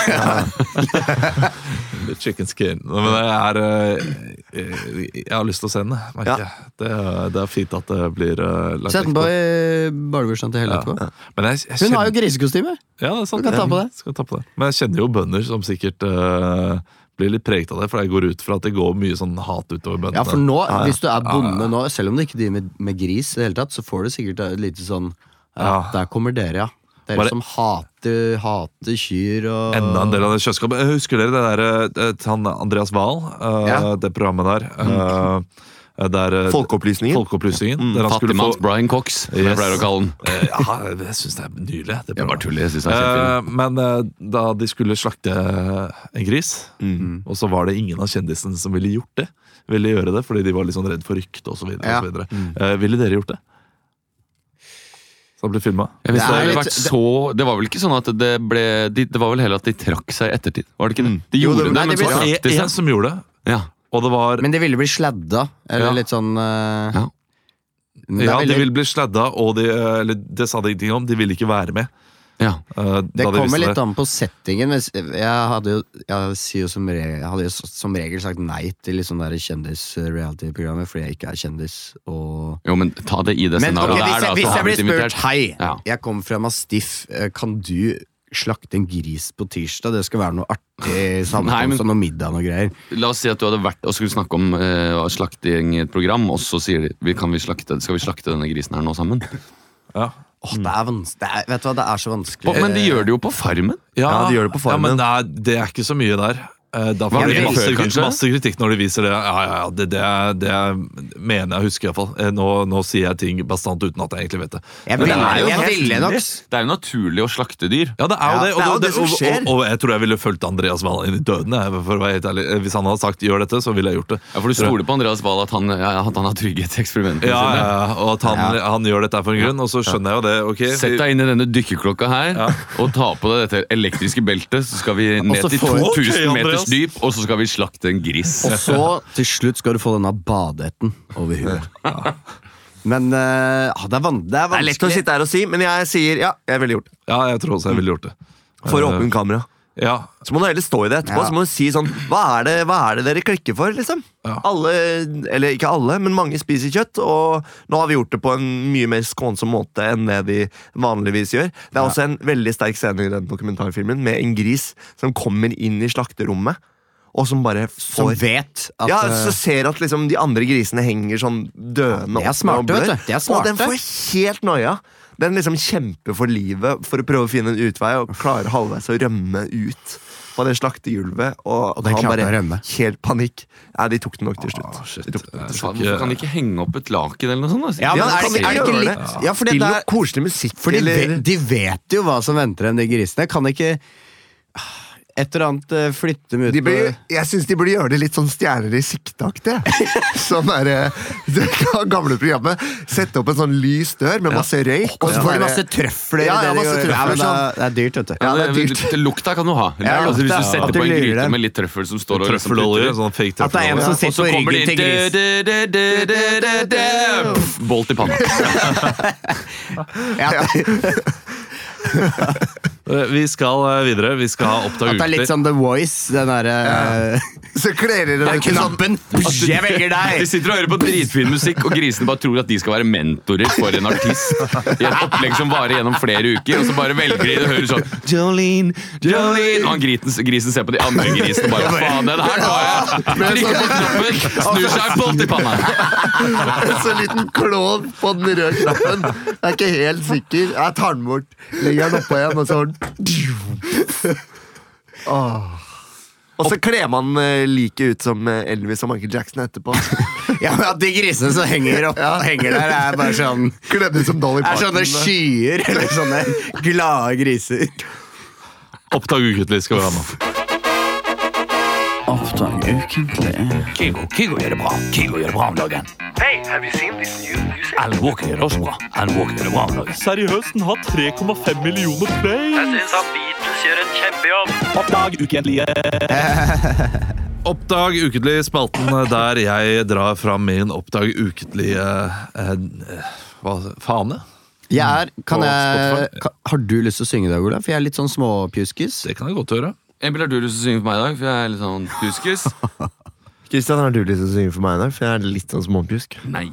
The Chicken skin. Nei, Men jeg er eh, eh, Jeg har lyst til å se den, jeg, Ja. merker jeg. Det, er- det er fint at det blir eh, lagt Sett den på i barnebursdagen til Helle etterpå. Ja. Men jeg, jeg Hun kjenner, har jo grisekostyme! ja, det er sant. Hun kan ta på det. Skal ta på det. Men jeg kjenner jo bønder som sikkert eh, blir litt preget av det, for jeg går ut fra at det går mye sånn hat utover bøndene. Ja, for nå, hvis du er bonde nå, selv om du ikke driver med, med gris, i det hele tatt, så får du sikkert et lite sånn ja, Ja. Der kommer dere, ja. Dere Bare- som hater, hater kyr og Enda en del av det kjøleskapet. Eh, Husker dere det der eh, til han Andreas Wahl? eh, Ja. Mm. Det programmet der. eh, der eh, Folkeopplysningen. Folkeopplysningen. der han skulle Fattigmanns få- Brian Cox, som Yes. jeg pleier å kalle den. Eh, Ja, det syns jeg er nydelig. Det Jeg programmet. bare tuller. Jeg synes det er kjempefin. Eh, Men eh, da de skulle slakte en gris, og så var det ingen av kjendisene som ville gjort det, ville gjøre det fordi de var litt sånn redd for rykte osv. Ja. videre Eh, ville dere gjort det? Så det ble filma? Jeg visste Det er det, hadde litt- vært så, det var vel ikke sånn at det ble de, Det var vel heller at de trakk seg i ettertid. Var det ikke det? De Mm. Jo, gjorde det- det, nei, men det så ble- trakk de En seg. som gjorde det, Ja. og det var Men det ville bli sladda. Eller Ja. litt sånn eh, Ja. men det er Ja, de veldig- ville bli sladda, og de, eh, eller, det sa de ingenting om. De ville ikke være med. ja. eh, Det da de kommer visste litt an på settingen. Men s- jeg hadde jo, jeg sier jo som, re jeg hadde jo s- som regel sagt nei til litt sånne der kjendis-reality-programmer fordi jeg ikke er kjendis. Og Jo, men ta det i det men ok, hvis, scenarioet der, da. jeg, så hvis har jeg vi blir blitt spurt invitert. Hei, Ja. jeg kommer fra Mastiff, eh, kan du slakte en gris på tirsdag? Det skal være noe artig Nei, men- sammenkomst og noe middag og noe greier. La oss si at du hadde vært og skulle snakke om eh, slakting i et program, og så sier de "Vi- kan vi slakte, Skal vi slakte denne grisen her nå sammen? Åh, det er vanskelig. Det er, vet du hva, det er så vanskelig. Å, men de gjør det jo på Farmen! Ja, Ja, de gjør det på Ja, Farmen. men nei, det er ikke så mye der. Eh, Da får Var de det masse, før, kanskje? masse kritikk når de viser det. Ja, ja, ja, det, det, er- det er- mener jeg å huske, iallfall. Eh, Nå, nå sier jeg ting bastant uten at jeg egentlig vet det. Jeg Men det ville- er jo jeg helt ville nok- nydelig. Det er jo naturlig å slakte dyr. Ja, det er jo Ja, det. Og, det er jo det som og, skjer. og, og, jeg tror jeg ville fulgt Andreas Wahl inn i døden. Jeg, for å være helt ærlig. Eh, Hvis han hadde sagt 'gjør dette', så ville jeg gjort det. Ja, For du stoler på Andreas Wahl at, han- ja, at han har trygghet i eksperimentene Ja, ja, sine? ja, og at han, han gjør dette for en grunn, og så skjønner jeg jo det. ok vi- Sett deg inn i denne dykkerklokka her og ta på deg dette elektriske beltet. Så skal vi ned så til får- 2000 Ok, Andreas. meters dyp, og så skal vi slakte en gris. Eh, Og så, til slutt, skal du få denne badehetten over huet. Men eh, ah, det, er van det er Det er vanskelig. lett å sitte her og si, men jeg sier ja, jeg ville gjort det. Ja, jeg tror også jeg ville gjort det. For Eh, åpen kamera. Ja. Så må du heller stå i det etterpå Ja. Så må du si sånn hva er, det, hva er det dere klikker for, liksom? Alle, eller ikke alle, men mange spiser kjøtt. Og nå har vi gjort det på en mye mer skånsom måte enn det vi vanligvis gjør. Det er også en veldig sterk scene i den dokumentarfilmen med en gris som kommer inn i slakterommet, og som bare Som får vet at ja, eh, så ser at liksom de andre grisene henger sånn døende De er smarte, opp når vet du. De er Og den smarte. får helt noia. Den liksom kjemper for livet for å prøve å finne en utvei og klarer halvveis å rømme ut på det slaktehjulvet. Og, Og den han klarte bare å rømme. Eh, helt panikk. Nei, de tok den nok til slutt. de tok den til slutt. Faen, Hvorfor kan de ikke henge opp et laken eller noe sånt? da? Ja, men er kan det, vi ikke- er det gjøre ikke det? litt Ja, for det Til noe der koselig musikk, For de, eller vet, de vet jo hva som venter dem, de grisene. Kan de ikke ah, et eller annet eh, flytte dem ut de bør, på- Jeg syns de burde gjøre det litt sånn stjerner i <laughs> sikte-aktig. Som er eh, <laughs> det gamle programmet. Sette opp en sånn lys dør med masse røyk. Og så får de bare- masse trøfler. Ja, ja, det de masse gjør. trøfler, Ja, men det, sånn. er, det er dyrt, vet du. <laughs> Ja, det, det er dyrt. det- Lukta kan du ha. Ja, altså, hvis lukta, du at det setter på en lurer gryte dem. med litt trøffel som står og liksom Trøffelolje. Sånn fake At det er en trøffelolje. som sitter på kommer ryggen til grisen. det inn Bolt i panna. Ja, Eh, Vi skal eh, videre. Vi skal ha oppdag at det er litt ukentlig. sånn The Voice, den derre Så kler dere dere ikke sånn knappen. Jeg velger De deg! sitter og hører på dritfin musikk, og grisene bare tror at de skal være mentorer for en artist. I et opplegg som varer gjennom flere uker, og så bare velger de det og hører sånn Jolene, Jolene Og han grisen, grisen ser på de andre grisene og bare Faen, den her tar jeg! Trykker på knappen, snur seg, bolt i panna. <laughs> Så liten klovn på den røde knappen. Jeg er ikke helt sikker. Jeg tar den bort. Legger den oppå igjen, og så har den Åh. Og så kler man eh, like ut som eh, Elvis og Michael Jackson <laughs> etterpå. Ja, men At de grisene som henger, opp, henger der, er bare sånn Kledd ut som Dolly er sånne Parton. skyer, eller sånne glade griser. Oppdag ukentlig skal vi ha nå. Seriøst, den har 3,5 millioner play! <laughs> Oppdag ukentlig, spalten eh, der jeg drar fram min Oppdag ukentlig eh, eh, hva, fane. Jeg er, kan På jeg, Spotify. kan, har du lyst til å synge i dag, Olav? For jeg er litt sånn småpjuskis. Det kan jeg godt gjøre. Emil, har du lyst til å synge for meg i dag? For jeg er litt sånn kuskus. Kristian, har du lyst til å synge for meg i dag? For jeg er litt sånn småpjusk. Nei.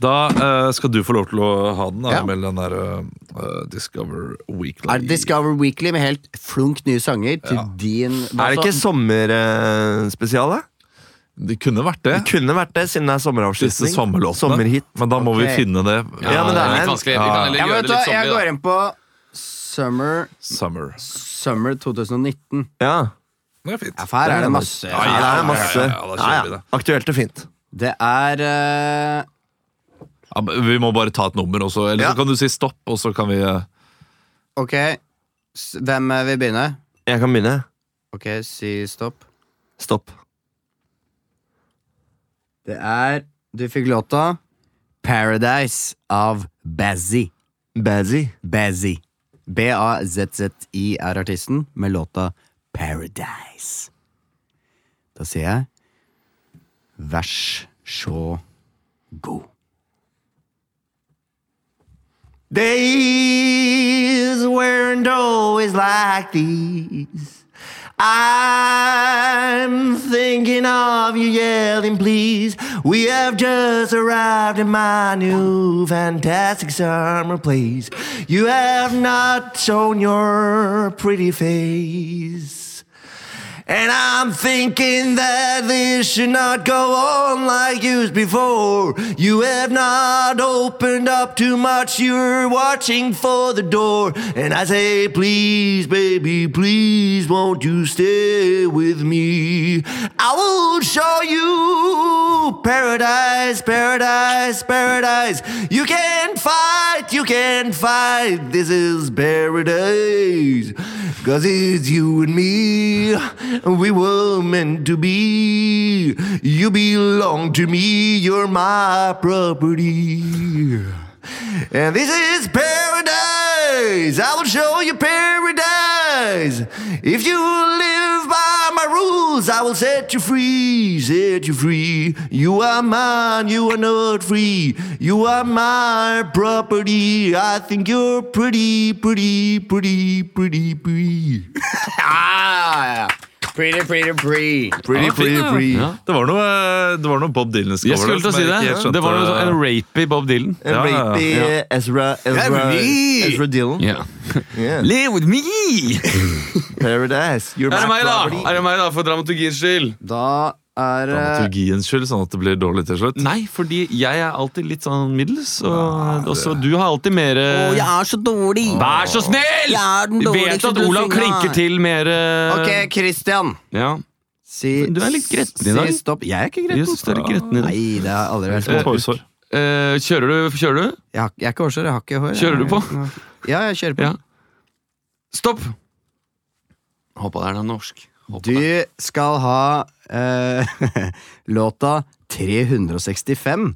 Da eh, skal du få lov til å ha den, da, Ja. Emil. Den der eh, Discover Weekly. Er Discover Weekly med helt flunk nye sanger til din Er det ikke sommerspesial, da? Det kunne vært det. Det kunne vært det, siden det er Disse sommeravslutning. sommerlåtene. Sommerhit. Men da må Ok. vi finne det. Ja, men Ja, det det er er litt en- vanskelig. Vi kan ja, heller men gjøre det vet du, hva, litt Jeg sånn- sommerlig, går inn på Summer, Summer. summer 2019. Ja. Det er fint. Ja, for her er det masse. Ja, ja, ja, det er ja, masse. ja, ja, da kjører vi det. Aktuelt og fint. Det er eh, Ja, men vi må bare ta et nummer også. Eller Ja. så kan du si stopp, og så kan vi eh, Ok, s- hvem eh, vil begynne? Jeg kan begynne. Ok, si stopp. Stopp. Det er Du fikk låta Paradise av Bazzy. Bazzy. Bazzy. B-A-Z-Z-I er artisten, med låta Paradise. Da sier jeg Vær så god. Days weren't always like these. I'm thinking of you yelling, please. We have just arrived in my new fantastic summer place. You have not shown your pretty face. And I'm thinking that this should not go on like used before. You have not opened up too much, you're watching for the door. And I say, please, baby, please, won't you stay with me? I will show you paradise, paradise, paradise. You can fight, you can fight. This is paradise. Cause it's you and me. We were meant to be. You belong to me. You're my property. And this is paradise. I will show you paradise. If you live by my rules, I will set you free. Set you free. You are mine. You are not free. You are my property. I think you're pretty, pretty, pretty, pretty, pretty. Ja, Ah, ja, ja. Pretty, pretty, pretty. Pretty, Ja, pretty, fin, ja. pretty. Ja. Det var noe, eh, det var noe Bob Dylan-skål Jeg skulle til å si det. Det var jo sånn en rapey Bob Dylan. En Ja, ja, rapey Ezra, Ezra, Rapey! Ezra Dillon. Ja. Yeah. <laughs> Live with me! Paradise. You're Er det my meg, da? property. Er det meg da, For dramaturgiens skyld. Da er eh, det Dramaturgiens skyld, sånn at det blir dårlig til slutt. Nei, fordi jeg er alltid litt sånn middels, og også du har alltid mer er så dårlig! Vær så snill! Jeg er den Vi vet dårligste at til å Olav synge. klinker til mer eh, Ok, Christian. Ja. Si, Du er litt gretten i dag. Si stopp. Jeg er ikke Jeg gretten. synes du er litt gretten i dag. Nei, det har jeg aldri vært. Små hårsår. Eh, kjører du? Kjører du? Jeg, har, jeg er ikke hårsår, jeg har ikke hår. Kjører du på? Ja, jeg kjører på. Ja. Stopp! Håpa det er noe norsk. Håper det. Du skal ha eh, <laughs> låta 365.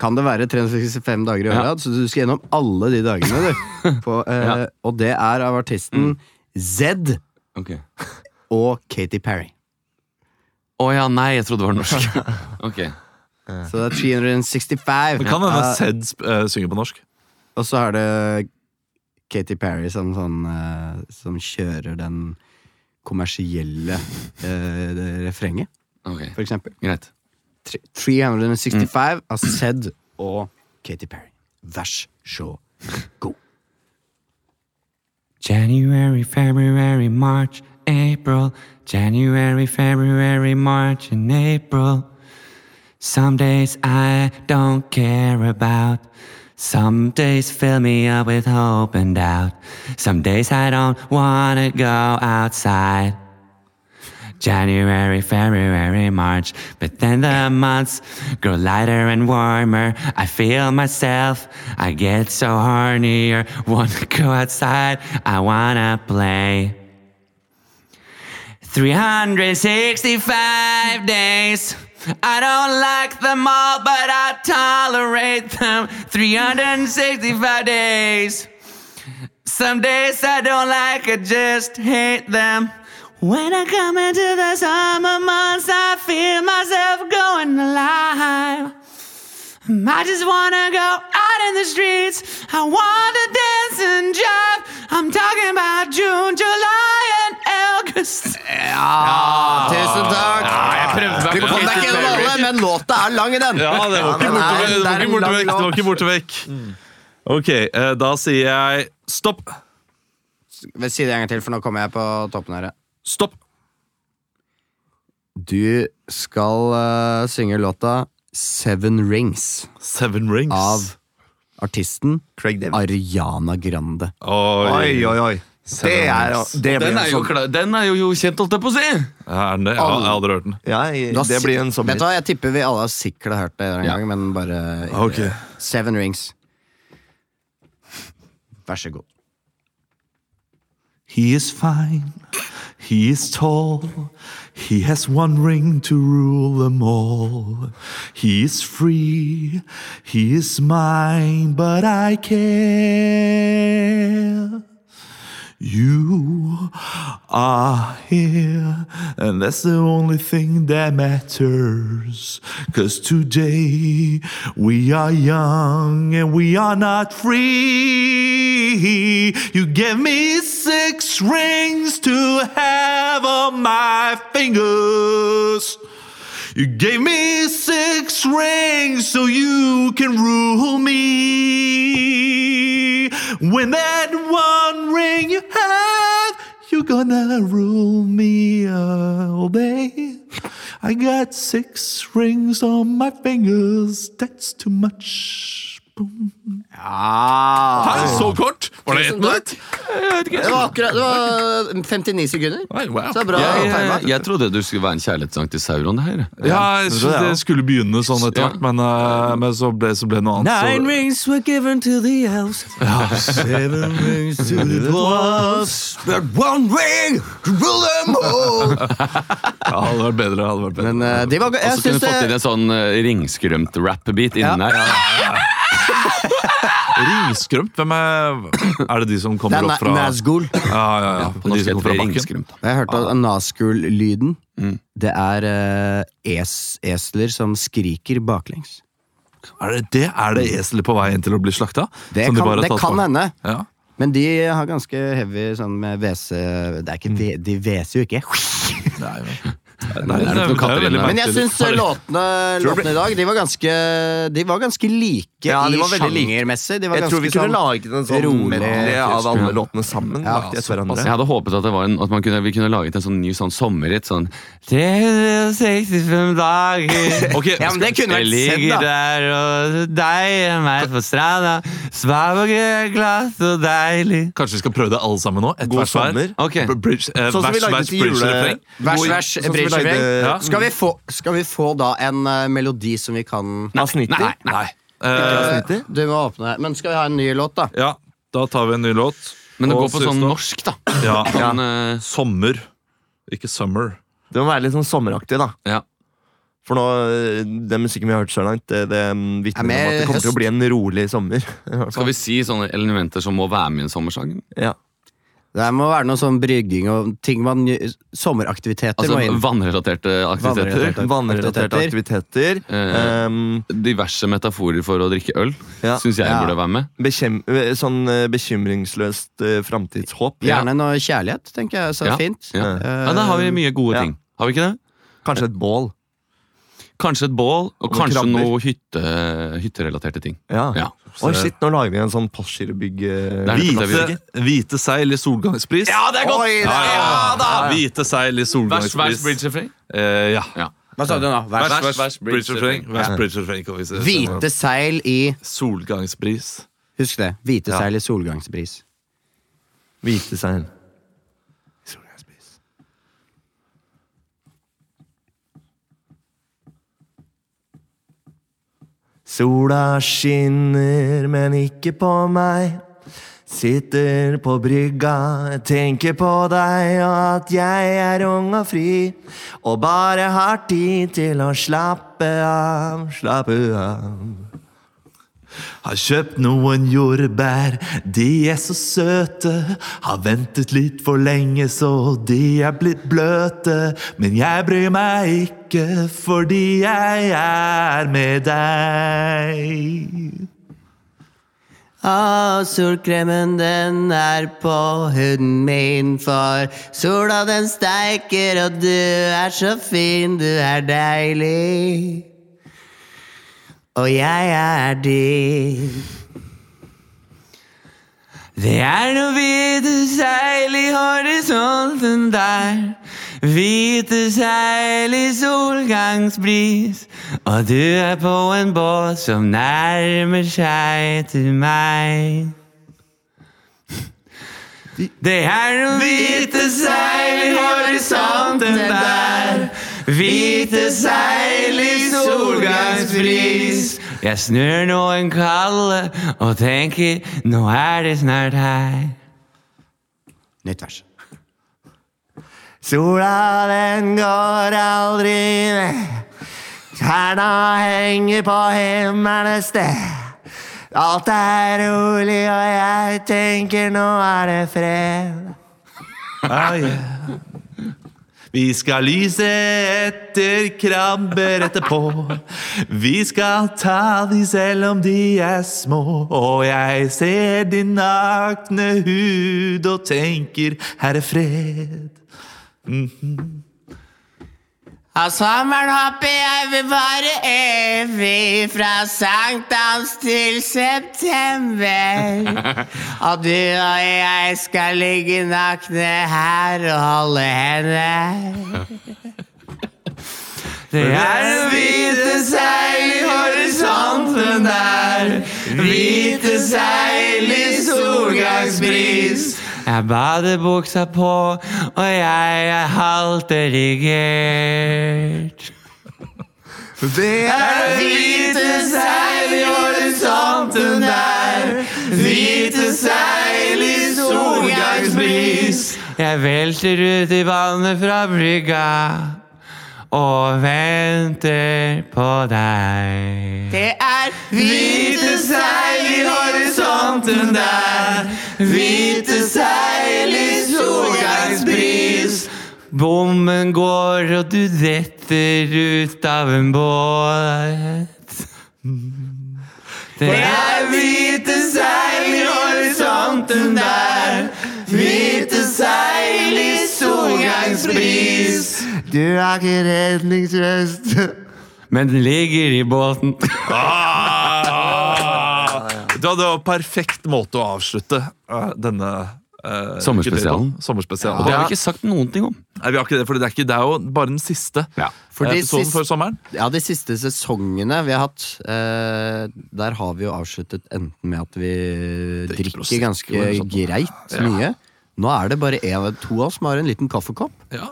Kan det være 365 dager i året? Så du skal gjennom alle de dagene, du. <laughs> På, eh, Ja. Og det er av Mm. artisten Zed Ok. og Katy Perry. Å ja, nei, jeg trodde det var norsk. <laughs> Ok, Så det er 365. Men kan hende Eh, Sed eh, synger på norsk. og så er det Katy Perry som, sånn, eh, som kjører den kommersielle eh, det refrenget, ok, for eksempel. Greit. Tre- 365 av Zed og Katy Perry. Vær så god. January, February, March, April. January, February, March, and April. Some days I don't care about. Some days fill me up with hope and doubt. Some days I don't wanna go outside. January, February, March, but then the months grow lighter and warmer. I feel myself, I get so hornier. Wanna <laughs> go outside, I wanna play. 365 days. I don't like them all, but I tolerate them. 365 days. Some days I don't like, I just hate them. When I come into the summer months, I feel myself going alive. I just wanna go out in the streets. I wanna dance and jive. I'm talking about June, July, and August. Tusen takk! prøvde Vi kom deg ikke gjennom alle, men låta er lang i den! Ja, det var ikke men borte vekk. nei, Det var er ikke en borte lang vekk. Det var ikke borte vekk. Ok, eh, da sier jeg stopp. låt. Si det en gang til, for nå kommer jeg på toppen her. Stopp. Du skal eh, synge låta Seven Rings Seven Rings. av artisten Craig David. Ariana Grande. Oi. Oi, oi, oi. Det er, det blir Den en er jo, sånn klar, den er jo, jo kjent, holdt jeg på å si! Er den det? Ja, jeg har aldri hørt den. ja, jeg- Du har Det sik- blir en sommer. Vet du hva, Jeg tipper vi alle har sikkert hørt det en gang, men bare Ok. Seven Rings. Vær så god. He is fine. He is tall. He has one ring to rule them all. He is free. He is mine, but I care. You are here, and that's the only thing that matters. Cause today we are young and we are not free. You give me six rings to have on my fingers. You gave me six rings so you can rule me. When that one ring you have, you're gonna rule me all day. I got six rings on my fingers, that's too much. Boom. Ah, Så kort! Var det ett Tusen takk. minutt? det var akkurat det var 59 sekunder. Nei, wow. Så bra. Jeg, eh, timet. jeg, jeg trodde du skulle være en kjærlighetssang til Sauron. det her Ja, jeg synes det skulle begynne sånn etter Ja. hvert, men, eh, men så ble det noe annet. så- Nine rings were given to the elves. Seven rings to the dwarfs, but one ring to rule them all. <laughs> Ja, det hadde vært bedre. det hadde vært bedre. Men eh, de var go- Og Jeg så kunne syns du fått inn det en sånn eh, ringskremt rap-beat inni der. Ringstrømt? Hvem er Er det de som Det kommer er opp fra Na- Nazgul. Ja, ja, ja. På De norsk som heter kommer det fra bakken. ringskremt. da. Jeg hørte Ah. at Nazgul-lyden Mm. Det er eh, es esler som skriker baklengs. Er det det? Er det eselet på vei inn til å bli slakta? Det Som de kan, bare har det tatt kan på? hende. Ja. Men de har ganske heavy sånn med WC Det er Mm. ikke ve- De hveser jo ikke. Nei, det er noen jo katter inne veldig <laughs> her. Men jeg merkelig. syns låtene, låtene i dag de var ganske, de var ganske like Ja, de var i veldig like. sjangermessig. De var Jeg ganske tror vi kunne sånn- laget en sånn rolig. medley av alle låtene sammen. Ja, lagt etter hverandre. Altså, Jeg hadde håpet at, det var en, at man kunne, vi kunne laget en sånn ny sånn sommerhit. Sånn 365 dager Ok, Ja, men det kunne Jeg vært sett, ligger da. der og deg og meg på stranda. Svar og glass og deilig. Kanskje vi skal prøve det alle sammen nå? Et God vers hver? sommer. Ok. B- Bridge, eh, Sånn som vi vers, lagde vers, til bridge, jule- refreng. Vers, Hvor- vers, sånn som vi bridge, lagde- Ja. Skal, vi få, skal vi få da en eh, melodi som vi kan Nei, nei. Eh, Avsnittet? Du må åpne Men skal vi ha en ny låt, da? ja, da tar vi en ny låt. Men det Og går på sånn siste- norsk, da. Ja. Sånn, eh, Sommer. Ikke summer. Det må være litt sånn sommeraktig, da. ja. For nå, øh, den musikken vi har hørt så langt, det, det mm, vitner Er om mer at det kommer til å høst. bli en rolig sommer. <laughs> Skal vi si sånne elementer som må være med i en sommersang? Ja. Det må være noe sånn brygging og ting man gjør- Sommeraktiviteter Altså må inn. vannrelaterte Vannrelaterte. aktiviteter? Vannrelaterte aktiviteter. Eh. ehm, Diverse metaforer for å drikke øl Ja. syns jeg Ja. burde være med. bekjem, øh, sånn øh, bekymringsløst øh, framtidshåp. Gjerne noe eh, kjærlighet, tenker jeg. Så Ja. fint. Ja. Eh, ja, Da har vi mye gode ja. ting. Har vi ikke det? Kanskje et bål. Kanskje et bål, og noen kanskje krabber. noe hytte, hytterelaterte ting. Ja. Ja. Oi, shit, nå lager vi en sånn Postgirobygg Det øh, er nettopp det vi Hvite, hvite seil i solgangspris. det Oi, Ja, ja, ja, da! Hvite seil i Vers, vers, solgangspris. bridge refrain. Eh, ja. Ja. Hva sa du nå? Vers. Vers, vers, vers, bridge bridge refreng. refreng. Vers, bridge refreng, kan vi si. Hvite seil i Solgangspris. Husk det. Hvite seil i solgangsbris. hvite seil. Sola skinner, men ikke på meg. Sitter på brygga, tenker på deg og at jeg er ung og fri. Og bare har tid til å slappe av, slappe av. Har kjøpt noen jordbær, de er så søte. Har ventet litt for lenge, så de er blitt bløte. Men jeg bryr meg ikke, fordi jeg er med deg. Ah, Å, solkremen den er på huden min, for sola den steiker, og du er så fin, du er deilig. Og jeg er din. Det er noe hvite seil i horisonten der. Hvite seil i solgangsbris. Og du er på en båt som nærmer seg til meg. Det er noe hvite seil i horisonten der. Hvite seil i solgangsbris. Jeg snur noen kalde og tenker nå er det snart her. Nytt vers. Sola den går aldri ned. Stjerna henger på himmelens sted. Alt er rolig, og jeg tenker nå er det fred. Ah, yeah. Vi skal lyse etter krabber etterpå. Vi skal ta de selv om de er små. Og jeg ser din nakne hud og tenker her er fred. Av sommeren håper jeg vil vare evig, fra sankthans til <laughs> september. Og du og jeg skal ligge nakne her og holde hender. Det er det hvite seil i horisonten der. Hvite seil i solgangsbris. Jeg har badebuksa på, og jeg er halvt erigert. Det er Hvite seil i horisonten der. Hvite seil i solgangsbris. Jeg velter ut i vannet fra brygga. Og venter på deg. Det er hvite seil i horisonten der. Hvite seil i solgangsbris. Bommen går, og du detter ut av en båt. Det er hvite seil i horisonten der. Hvite seil i solgangsbris. Du har ikke redningsrøst. Men den ligger i båten. Ah! Det var det var perfekt måte å avslutte eh, denne eh, Sommerspesialen. ukedelen på. Sommerspesialen. Og det Ja. har vi ikke sagt noen ting om. Nei, vi har ikke det, for det er, ikke, det er jo bare den siste Fordi episoden sist- før sommeren. Ja, de siste sesongene vi har hatt, eh, der har vi jo avsluttet enten med at vi drikker Prosecco ganske eller sånt. greit mye. Nå er det bare en, to av oss som har en liten kaffekopp, Ja,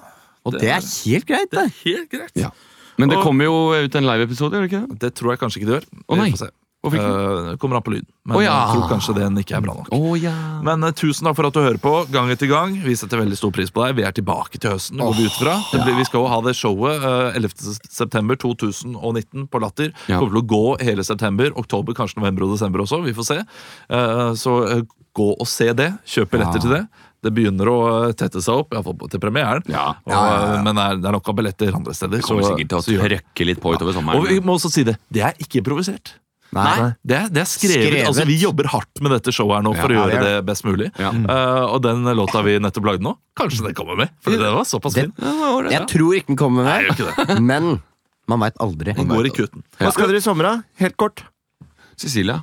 og det, er helt greit, det. helt greit. Ja. Men det Og- kommer jo ut en live-episode, gjør det ikke det? Det tror jeg kanskje ikke det gjør. Å, nei. Vi får se. Hvorfor ikke? Eh, det kommer an på lyden. Men Å, ja. jeg tror kanskje den ikke er bra nok. Å ja. Men eh, tusen takk for at du hører på gang etter gang. Vi setter veldig stor pris på deg. Vi er tilbake til høsten. går vi ut fra. Det blir, vi skal jo ha det showet eh, 11. september 2019 på Latter. Ja. Kommer til å gå hele september. Oktober, kanskje november og desember også. Vi får se. Eh, så eh, gå og se det. Kjøp billetter til det. Det begynner å eh, tette seg opp, iallfall til premieren. Ja. Og, eh, Men det er, det er nok av billetter andre steder. Kommer så, sikkert til å så gjør det. trøkke litt på utover sommeren. Og vi må også si det. Det er ikke improvisert. Nei, det er, det er skrevet. Skrevet. Altså, vi jobber hardt med dette showet her nå for Ja, å det gjøre er det best mulig. Ja. Eh, og den låta vi nettopp lagde nå, kanskje den kommer med. For det var såpass fin. Den- Jeg tror ikke den kommer Nei, med, gjør ikke det. men man veit aldri. Den går i kutten. Hva skal dere i sommer, da? Helt kort. Cecilia.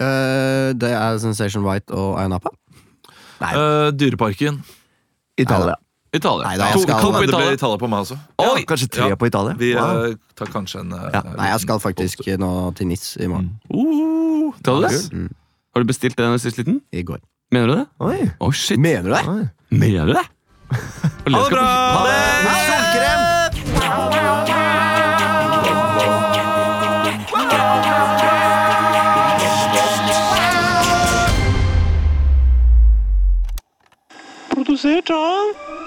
Eh, det er Sensation White og Ayanapa. Eh, Dyreparken. Italia. Italia. Nei, da, jeg To- skal- Kom Nei, på det ble Italia. Italia på meg også. Oi! Kanskje tre Ja. på Italia. Vi eh, Wow. tar kanskje en eh, Nei, jeg skal faktisk nå til NIS i morgen. Uh, skal du det? Har du bestilt den sist liten? Mm. I går. Mener du det? Oi. Å, shit. Mener du det? Oi. Mener du det? Ha det bra! Solkrem! Produsert av